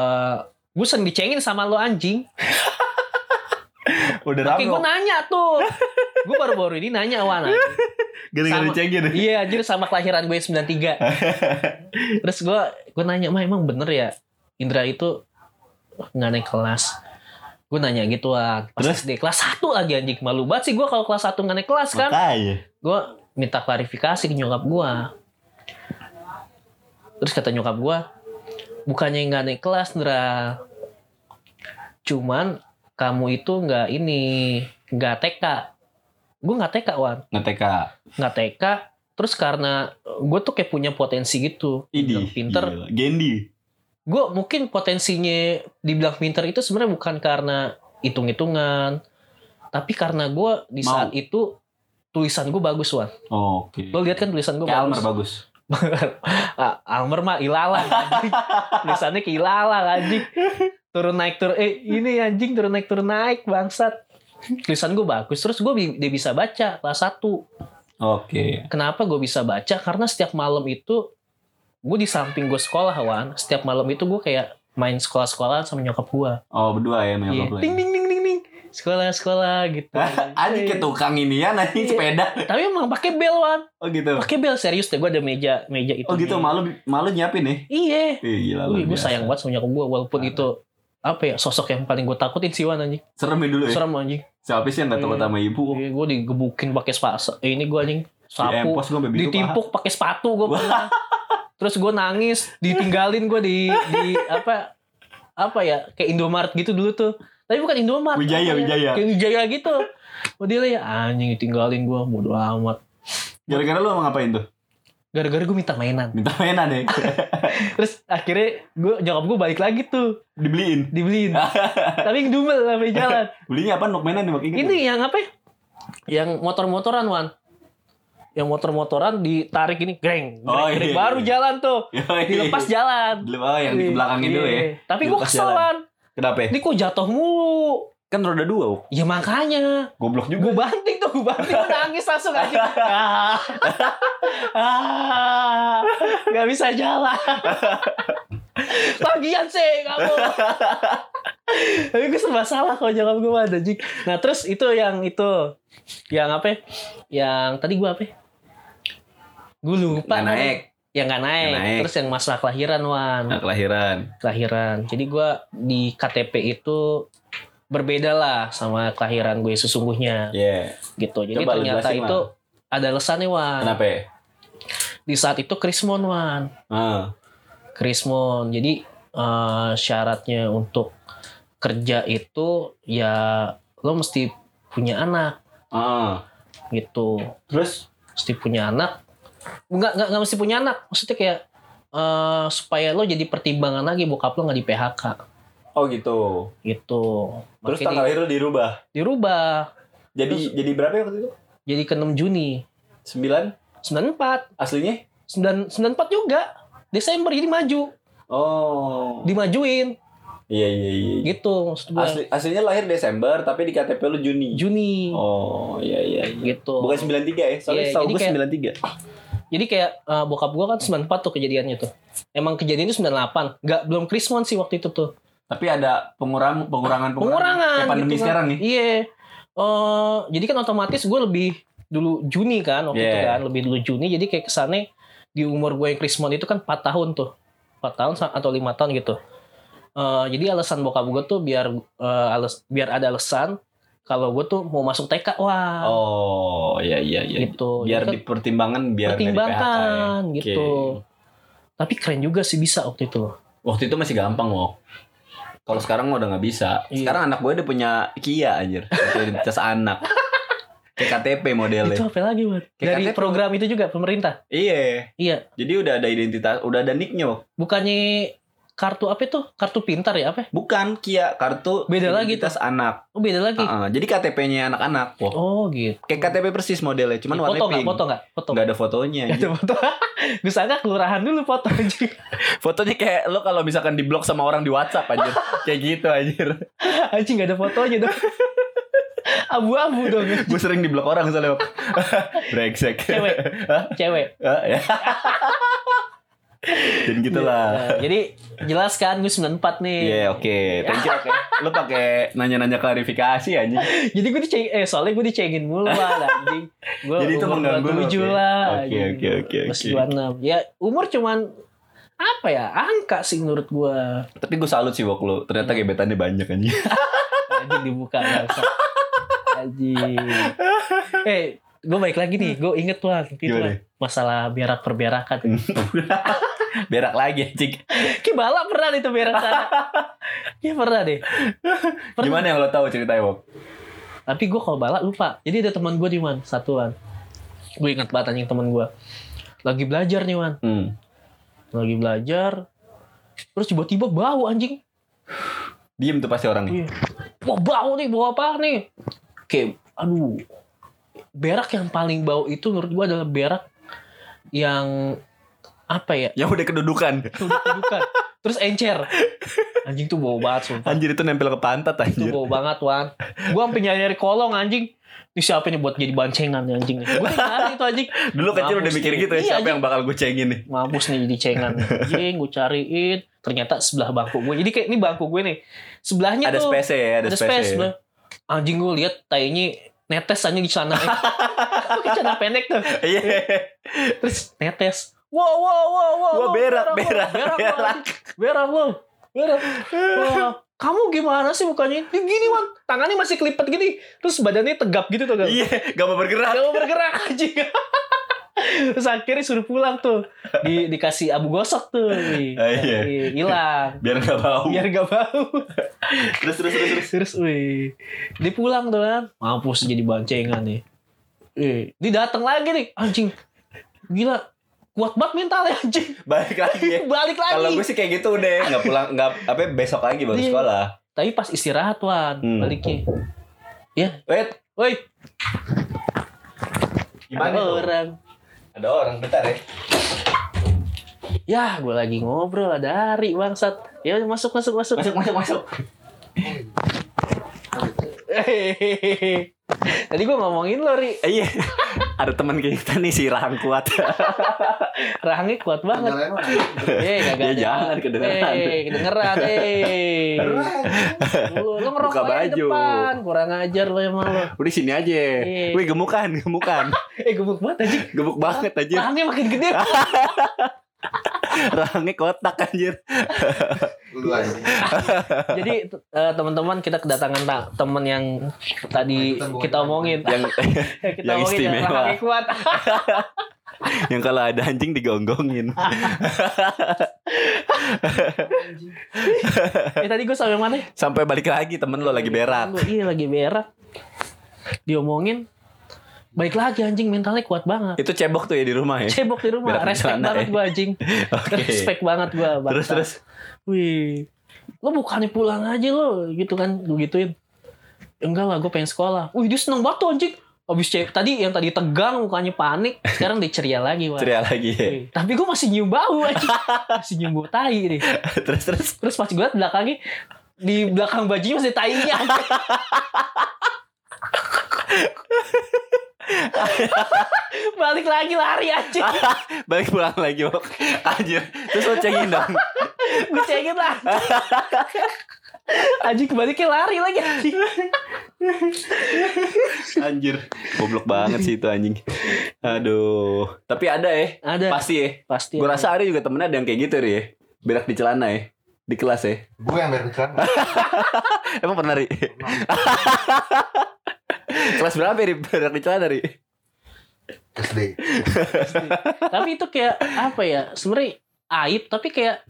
Speaker 1: gue sering dicengin sama lo anjing
Speaker 2: Udah
Speaker 1: Oke
Speaker 2: rame
Speaker 1: gue nanya tuh gue baru-baru ini nanya Wan anjing.
Speaker 2: gara-gara
Speaker 1: Sama.
Speaker 2: dicengin.
Speaker 1: iya anjir sama kelahiran gue 93 terus gue gue nanya mah emang bener ya Indra itu nggak naik kelas gue nanya gitu Wan pas
Speaker 2: Terus?
Speaker 1: SD kelas 1 lagi anjing malu banget sih gue kalau kelas 1 nggak naik kelas kan
Speaker 2: Makanya.
Speaker 1: gue minta klarifikasi ke nyokap gue terus kata nyokap gue bukannya nggak naik kelas Ndra cuman kamu itu nggak ini nggak TK gue nggak TK wan
Speaker 2: Nge-TK.
Speaker 1: nggak TK terus karena gue tuh kayak punya potensi gitu
Speaker 2: Idi.
Speaker 1: Dibilang pinter
Speaker 2: Gila. Gendi.
Speaker 1: gue mungkin potensinya dibilang pinter itu sebenarnya bukan karena hitung-hitungan tapi karena gue di
Speaker 2: Mau.
Speaker 1: saat itu tulisan gue bagus wan
Speaker 2: Oh, Oke.
Speaker 1: lo lihat kan tulisan gue
Speaker 2: Kayak Almer bagus.
Speaker 1: Ah, Almer mah ilalang anjing. Tulisannya ke ilalang anjing. Turun naik turun eh ini anjing turun naik turun naik bangsat. Tulisan gue bagus terus gue bi- dia bisa baca kelas 1.
Speaker 2: Oke.
Speaker 1: Kenapa gue bisa baca? Karena setiap malam itu gue di samping gue sekolah wan. Setiap malam itu gue kayak main sekolah-sekolah sama nyokap gue.
Speaker 2: Oh, berdua ya
Speaker 1: Iya.
Speaker 2: menyokap
Speaker 1: Ding ding ding ding ding. Sekolah-sekolah gitu.
Speaker 2: Anjing ke tukang inian anjing
Speaker 1: Iya.
Speaker 2: sepeda.
Speaker 1: Tapi emang pakai bel wan.
Speaker 2: Oh gitu.
Speaker 1: Pakai bel serius deh gue ada meja meja itu.
Speaker 2: Oh gitu malu malu nyiapin nih.
Speaker 1: Iya.
Speaker 2: Ih, gila lu.
Speaker 1: Wih, gue sayang banget sama nyokap gue walaupun
Speaker 2: Parah.
Speaker 1: itu apa ya sosok yang paling gue takutin sih Wan anjing
Speaker 2: Serem ya dulu ya.
Speaker 1: serem anjing
Speaker 2: Siapa sih yang gak takut
Speaker 1: Iya.
Speaker 2: sama ibu?
Speaker 1: gue digebukin pakai sepatu eh, ini gue anjing
Speaker 2: Di
Speaker 1: sapu
Speaker 2: empos gue sampai biru, paha.
Speaker 1: ditimpuk pakai sepatu gue pernah terus gue nangis ditinggalin gue di di apa apa ya kayak Indomaret gitu dulu tuh tapi bukan Indomaret
Speaker 2: Wijaya,
Speaker 1: apa ya?
Speaker 2: Wijaya.
Speaker 1: kayak Wijaya gitu Oh dia ya anjing ditinggalin gue bodo amat
Speaker 2: Ah, Gara-gara lu mau ngapain tuh?
Speaker 1: gara-gara gue minta mainan
Speaker 2: Minta mainan ya.
Speaker 1: terus akhirnya gue nyokap gue balik lagi tuh
Speaker 2: Dibeliin.
Speaker 1: dibeliin tapi dumel sampai jalan
Speaker 2: Belinya apa? Nuk mainan nih Mak? Ingat
Speaker 1: Ini yang apa ya? Yang motor-motoran, Wan. Yang motor-motoran ditarik ini, greng, greng,
Speaker 2: Oh, iya, iya.
Speaker 1: greng. baru jalan tuh.
Speaker 2: Yoi.
Speaker 1: Dilepas jalan.
Speaker 2: Oh yang di belakangnya dulu ya.
Speaker 1: Iya. Tapi gue
Speaker 2: Dilepas
Speaker 1: kesel,
Speaker 2: jalan.
Speaker 1: Wan.
Speaker 2: Kenapa? ya?
Speaker 1: Ini kok jatuh mulu.
Speaker 2: Kan roda dua, Wak.
Speaker 1: Ya makanya.
Speaker 2: goblok juga.
Speaker 1: Gue banting tuh, gue banting. Gue nangis langsung aja. Ah. Ah. Gak bisa jalan. Lagian sih kamu. Tapi gue serba salah kalau nyokap gue ada jik. Nah terus itu yang itu yang apa? ya? Yang tadi gue apa? ya? Gue lupa.
Speaker 2: Nggak naik.
Speaker 1: Yang nggak naik.
Speaker 2: Nggak naik.
Speaker 1: Terus yang masalah kelahiran wan.
Speaker 2: Nah, kelahiran.
Speaker 1: Kelahiran. Jadi gue di KTP itu berbeda lah sama kelahiran gue sesungguhnya
Speaker 2: Iya.
Speaker 1: gitu. Jadi
Speaker 2: Coba lu
Speaker 1: ternyata
Speaker 2: jelasin,
Speaker 1: itu ada alasannya wan.
Speaker 2: Kenapa? ya?
Speaker 1: Di saat itu Krismon wan.
Speaker 2: Ah.
Speaker 1: Krismon. Jadi eh, syaratnya untuk kerja itu ya lo mesti punya anak
Speaker 2: Ah.
Speaker 1: gitu.
Speaker 2: Terus
Speaker 1: Mesti punya anak. Enggak enggak mesti punya anak. Maksudnya kayak eh, supaya lo jadi pertimbangan lagi bokap lo nggak di PHK
Speaker 2: Oh gitu.
Speaker 1: gitu.
Speaker 2: Terus
Speaker 1: Makanya
Speaker 2: tanggal
Speaker 1: di-
Speaker 2: lahir lu dirubah.
Speaker 1: dirubah
Speaker 2: Jadi
Speaker 1: Terus-
Speaker 2: jadi berapa ya waktu itu?
Speaker 1: jadi ke 6 Juni.
Speaker 2: 9
Speaker 1: 94,
Speaker 2: aslinya?
Speaker 1: 9 94 juga. Desember jadi maju,
Speaker 2: Oh.
Speaker 1: dimajuin
Speaker 2: Iya iya iya.
Speaker 1: gitu maksud gua.
Speaker 2: Asli, aslinya lahir Desember tapi di KTP lu Juni.
Speaker 1: Juni
Speaker 2: Oh iya iya. iya.
Speaker 1: gitu.
Speaker 2: Bukan 93 ya. Soalnya
Speaker 1: Iya,
Speaker 2: setahu
Speaker 1: jadi
Speaker 2: gue
Speaker 1: kayak-
Speaker 2: 93.
Speaker 1: Jadi kayak eh, bokap gua kan 94 tuh kejadiannya tuh. Emang kejadiannya 98. Nggak belum Krismon sih waktu itu tuh.
Speaker 2: Tapi ada pengurang pengurangan Kayak
Speaker 1: Pengurangan.
Speaker 2: pandemi
Speaker 1: gitu kan.
Speaker 2: sekarang nih.
Speaker 1: Iya. Eh, jadi kan otomatis gue lebih dulu Juni kan waktu itu
Speaker 2: Yeah.
Speaker 1: kan lebih dulu Juni jadi kayak kesannya di umur gue yang Krismon itu kan 4 tahun tuh 4 tahun sa- atau lima tahun gitu Eh, jadi alasan bokap gue tuh biar eh, alas, biar ada alasan kalau gue tuh mau masuk TK wah
Speaker 2: Oh iya iya iya.
Speaker 1: gitu
Speaker 2: Biar
Speaker 1: Jadi kan
Speaker 2: dipertimbangkan biar Iya, nggak di PHK ya.
Speaker 1: pertimbangkan
Speaker 2: Oke.
Speaker 1: gitu tapi keren juga sih bisa waktu itu
Speaker 2: Waktu itu masih gampang, Wok. Kalau sekarang mah udah nggak bisa.
Speaker 1: Iya.
Speaker 2: Sekarang anak gue udah punya Kia anjir. Kartu Identitas anak. Kayak KTP
Speaker 1: Itu
Speaker 2: modelnya.
Speaker 1: apa lagi buat?
Speaker 2: Iya, Kayak
Speaker 1: Dari
Speaker 2: KTP.
Speaker 1: program itu juga pemerintah.
Speaker 2: Iya.
Speaker 1: Iya.
Speaker 2: Jadi udah ada identitas, udah ada nicknya. Wak.
Speaker 1: Bukannya kartu apa itu? Kartu pintar ya apa?
Speaker 2: Bukan Kia, kartu
Speaker 1: Beda lagi
Speaker 2: identitas anak.
Speaker 1: Oh beda lagi.
Speaker 2: Heeh, Jadi KTP-nya anak-anak. Wah,
Speaker 1: Oh gitu.
Speaker 2: kayak KTP persis modelnya, ah. cuman warna
Speaker 1: foto nggak?
Speaker 2: pink.
Speaker 1: Foto nggak? Foto.
Speaker 2: Nggak ada fotonya.
Speaker 1: Nggak ada foto. Gue sangka kelurahan dulu foto anjing.
Speaker 2: Fotonya kayak lo kalau misalkan di blok sama orang di WhatsApp anjir. kayak gitu anjir.
Speaker 1: Anjing nggak ada fotonya dong. Abu-abu dong.
Speaker 2: Gue sering di blok orang soalnya. Wak. Brengsek.
Speaker 1: Cewek.
Speaker 2: Hah?
Speaker 1: Cewek.
Speaker 2: Ah, ya. Dan gitulah.
Speaker 1: Nah, jadi jelas kan gue 94 nih.
Speaker 2: Iya, oke. Thank you, oke. Lu pakai nanya-nanya klarifikasi aja.
Speaker 1: Jadi gue diceng eh soalnya gue dicengin mulu lah anjing. Gue
Speaker 2: Jadi itu
Speaker 1: umur
Speaker 2: mengganggu lu,
Speaker 1: 27
Speaker 2: oke.
Speaker 1: lah.
Speaker 2: Oke,
Speaker 1: anjing.
Speaker 2: oke, oke,
Speaker 1: Masih
Speaker 2: oke.
Speaker 1: 26. Ya umur cuman apa ya? Angka sih menurut gue.
Speaker 2: Tapi gue salut sih Wok lu.
Speaker 1: Iya.
Speaker 2: Ternyata gebetannya banyak anjing.
Speaker 1: Anjing dibuka langsung. Anjing. Eh, gue balik lagi nih. Gue inget lah gitu
Speaker 2: Gimana?
Speaker 1: lah. Masalah berak perberakan.
Speaker 2: Berak lagi anjing.
Speaker 1: Ki bala pernah nih tuh berak sana. Iya pernah deh. Pernah.
Speaker 2: Gimana yang lo tahu ceritanya Wok?
Speaker 1: Tapi gue kalau balak lupa. Jadi ada teman gue di man satuan. Gue ingat banget anjing teman gue. Lagi belajar nih man.
Speaker 2: Hmm.
Speaker 1: Lagi belajar. Terus tiba-tiba bau anjing.
Speaker 2: Diem tuh pasti orangnya.
Speaker 1: Iya. Wah bau nih bau apa nih? Kayak aduh. Berak yang paling bau itu menurut gue adalah berak yang apa ya?
Speaker 2: Yang udah kedudukan.
Speaker 1: Tuduk-tudukan. Terus encer. Anjing tuh bau banget sumpah.
Speaker 2: Anjir itu nempel ke pantat
Speaker 1: Itu
Speaker 2: anjir.
Speaker 1: bau banget Wan Gue sampe nyari-nyari kolong anjing Ini siapa nih buat jadi bancengan nih anjing Gue nyari itu anjing
Speaker 2: Dulu kecil
Speaker 1: Mampus
Speaker 2: udah mikir
Speaker 1: nih.
Speaker 2: gitu ya
Speaker 1: Iya,
Speaker 2: siapa
Speaker 1: anjing.
Speaker 2: yang bakal gue cengin nih.
Speaker 1: Mampus nih jadi cengan Anjing gue cariin Ternyata sebelah bangku gue Jadi kayak ini bangku gue nih Sebelahnya
Speaker 2: Ada
Speaker 1: tuh
Speaker 2: space ya, ada,
Speaker 1: Iya, Ada
Speaker 2: space.
Speaker 1: space sebelah. Anjing gue liat tainya Netes anjing di celana Pakai celana pendek tuh
Speaker 2: Iya.
Speaker 1: Terus netes Wow wow wow wow
Speaker 2: Gua
Speaker 1: wow,
Speaker 2: berak, berak,
Speaker 1: Berak lo,
Speaker 2: berak.
Speaker 1: anjing. Berak lo Berak Wah, Kamu gimana sih mukanya? Ya Gini Wan Tangannya masih kelipet gini Terus badannya tegap gitu tuh kan
Speaker 2: Iya, gak mau bergerak.
Speaker 1: Gak mau bergerak anjing. Terus akhirnya suruh pulang tuh. Di, dikasih abu gosok tuh. Wih.
Speaker 2: Ah, iya.
Speaker 1: Wih, Hilang.
Speaker 2: Biar gak bau.
Speaker 1: Biar gak bau.
Speaker 2: Terus terus terus terus.
Speaker 1: Terus wih. Dia pulang tuh kan. Mampus jadi bancengan nih. Wih. Dia datang lagi nih. Anjing. Gila. Kuat banget mentalnya anjing.
Speaker 2: Balik lagi ya.
Speaker 1: Balik lagi.
Speaker 2: Kalau gue sih kayak gitu deh, nggak pulang, nggak apa besok lagi baru
Speaker 1: Iya.
Speaker 2: sekolah.
Speaker 1: Tapi pas istirahat Wan.
Speaker 2: Hmm.
Speaker 1: Baliknya. Ya,
Speaker 2: Wait,
Speaker 1: Woi.
Speaker 2: gimana?
Speaker 1: ada
Speaker 2: tuh?
Speaker 1: orang.
Speaker 2: Ada orang, bentar ya.
Speaker 1: Ya gue lagi ngobrol lah dari bangsat. Ya masuk masuk masuk.
Speaker 2: Masuk, masuk, masuk.
Speaker 1: Hehehe. Tadi gue ngomongin lo, Ri.
Speaker 2: Iya, ada teman kita nih si Rahang kuat.
Speaker 1: Rahangnya kuat banget. Eh, kagak
Speaker 2: Ya,
Speaker 1: ada.
Speaker 2: jangan, kedengeran.
Speaker 1: Eh, kedengeran. Eh. Lu, lu ngerokok
Speaker 2: Buka
Speaker 1: aja di
Speaker 2: baju.
Speaker 1: depan. Kurang ajar lo emang lo.
Speaker 2: Udah sini aja.
Speaker 1: Iya.
Speaker 2: Wih gemukan, gemukan,
Speaker 1: Eh, gemuk banget anjing.
Speaker 2: gemuk banget anjir.
Speaker 1: Rahangnya makin gede.
Speaker 2: Rahangnya kotak anjir.
Speaker 3: Lu aja.
Speaker 1: Jadi t- eh, teman-teman kita kedatangan ta- teman yang tadi
Speaker 3: Kita bawa-
Speaker 1: kita omongin.
Speaker 2: Yang yang
Speaker 1: kita omongin ya, yang
Speaker 2: istimewa.
Speaker 1: rahangnya kuat.
Speaker 2: yang kalau ada anjing digonggongin.
Speaker 1: Ah. eh, tadi gue sampai mana?
Speaker 2: Sampai balik lagi temen lo lagi berak.
Speaker 1: Gua, Iya, lagi berak. Diomongin. Baik lagi anjing mentalnya kuat banget.
Speaker 2: Itu cebok tuh ya di rumah ya.
Speaker 1: cebok di rumah
Speaker 2: Berak di
Speaker 1: respect
Speaker 2: celana,
Speaker 1: banget
Speaker 2: ya.
Speaker 1: gue anjing
Speaker 2: Oke.
Speaker 1: respect banget gue
Speaker 2: Terus terus.
Speaker 1: wih lo bukannya pulang aja lo gitu kan gue gituin enggak lah gue pengen sekolah wih dia seneng banget tuh anjing abis cewek tadi yang tadi tegang mukanya panik sekarang dia ceria lagi wah
Speaker 2: Ceria lagi ya.
Speaker 1: Wih, tapi gue masih nyium bau anjing masih nyium bau tai nih
Speaker 2: terus terus.
Speaker 1: terus pas gue liat belakangnya di belakang bajunya masih tainya balik lagi lari anjing
Speaker 2: Balik pulang lagi, Wok. Anjir. Terus lo cengin dong.
Speaker 1: gue cengin lah anjing kebaliknya lari lagi anjing
Speaker 2: Anjir. Goblok banget sih itu anjing. Aduh. Tapi ada ya.
Speaker 1: ada
Speaker 2: Pasti ya.
Speaker 1: pasti
Speaker 2: Gue rasa ada juga temennya ada yang kayak gitu Ri, ya. Berak di celana ya. Di kelas ya.
Speaker 3: Gue yang bayar iklan.
Speaker 2: Emang pernah Ri? kelas berapa ya Ri? Berak di celana Ri?
Speaker 3: SD.
Speaker 1: tapi itu kayak apa ya sebenarnya aib tapi kayak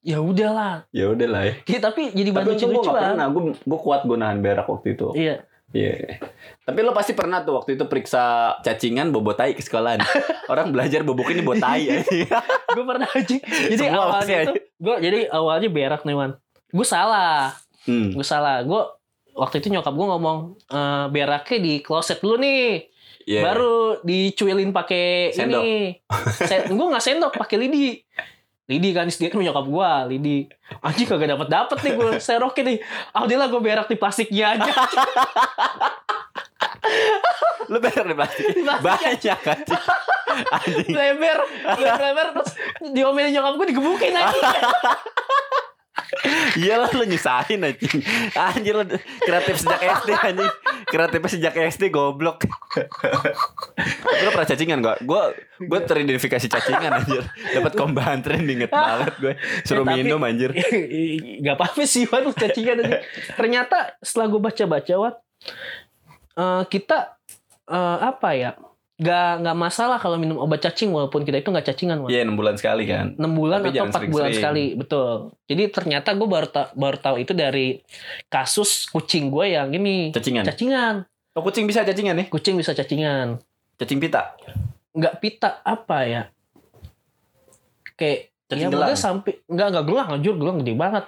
Speaker 1: ya udahlah
Speaker 2: ya udah lah ya.
Speaker 1: Ki, tapi jadi bahan
Speaker 2: Tapi itu gue gak
Speaker 1: lucu-lucuan
Speaker 2: pernah, gue gue kuat gue nahan berak waktu itu.
Speaker 1: iya
Speaker 2: Iya. Tapi lo pasti pernah tuh waktu itu periksa cacingan bobot tai ke sekolahan. Orang belajar bobok ini bobot tai. eh.
Speaker 1: gue pernah anjing jadi
Speaker 2: Semua pasti
Speaker 1: awalnya
Speaker 2: ada.
Speaker 1: itu gue jadi awalnya berak nih man gue salah
Speaker 2: hmm.
Speaker 1: gue salah gue waktu itu nyokap gue ngomong "Eh, beraknya di kloset dulu nih
Speaker 2: Iya.
Speaker 1: baru dicuilin pakai
Speaker 2: Sendok.
Speaker 1: ini Sen- gue nggak sendok pakai lidi lidi kan istirahat nyokap gue lidi anjing kagak dapet dapet nih gue serokin nih alhamdulillah gue berak di plastiknya aja
Speaker 2: Lo berak di plastik.
Speaker 1: Di plastik. ya?
Speaker 2: Banyak kan. Anjing.
Speaker 1: lebar lebar terus diomelin nyokap gue digebukin aja
Speaker 2: Iyalah lo Iya nyusahin anjing. Anjir lo kreatif sejak SD anjing. Kreatifnya sejak SD goblok. Tapi lo pernah cacingan gak? Gue gue teridentifikasi cacingan anjir. Dapat kombahan tren inget banget gue. Suruh
Speaker 1: Ya, tapi-
Speaker 2: minum anjir.
Speaker 1: nggak apa-apa sih Wan lu cacingan aja ternyata setelah gue baca-baca Wan eh, kita eh, apa ya nggak nggak masalah kalau minum obat cacing walaupun kita itu nggak cacingan Wan
Speaker 2: Iya 6 bulan sekali kan.
Speaker 1: 6 bulan
Speaker 2: Tapi
Speaker 1: atau
Speaker 2: jangan
Speaker 1: 4 bulan
Speaker 2: sering-sering.
Speaker 1: sekali betul jadi ternyata gue baru ta- baru tahu itu dari kasus kucing gue yang ini
Speaker 2: Cacingan.
Speaker 1: cacingan
Speaker 2: Oh kucing bisa cacingan nih?
Speaker 1: kucing bisa cacingan
Speaker 2: Cacing pita?
Speaker 1: nggak pita apa ya kayak
Speaker 2: Cacing
Speaker 1: ya
Speaker 2: gelang.
Speaker 1: pokoknya sampai nggak nggak gelang anjur gelang gede banget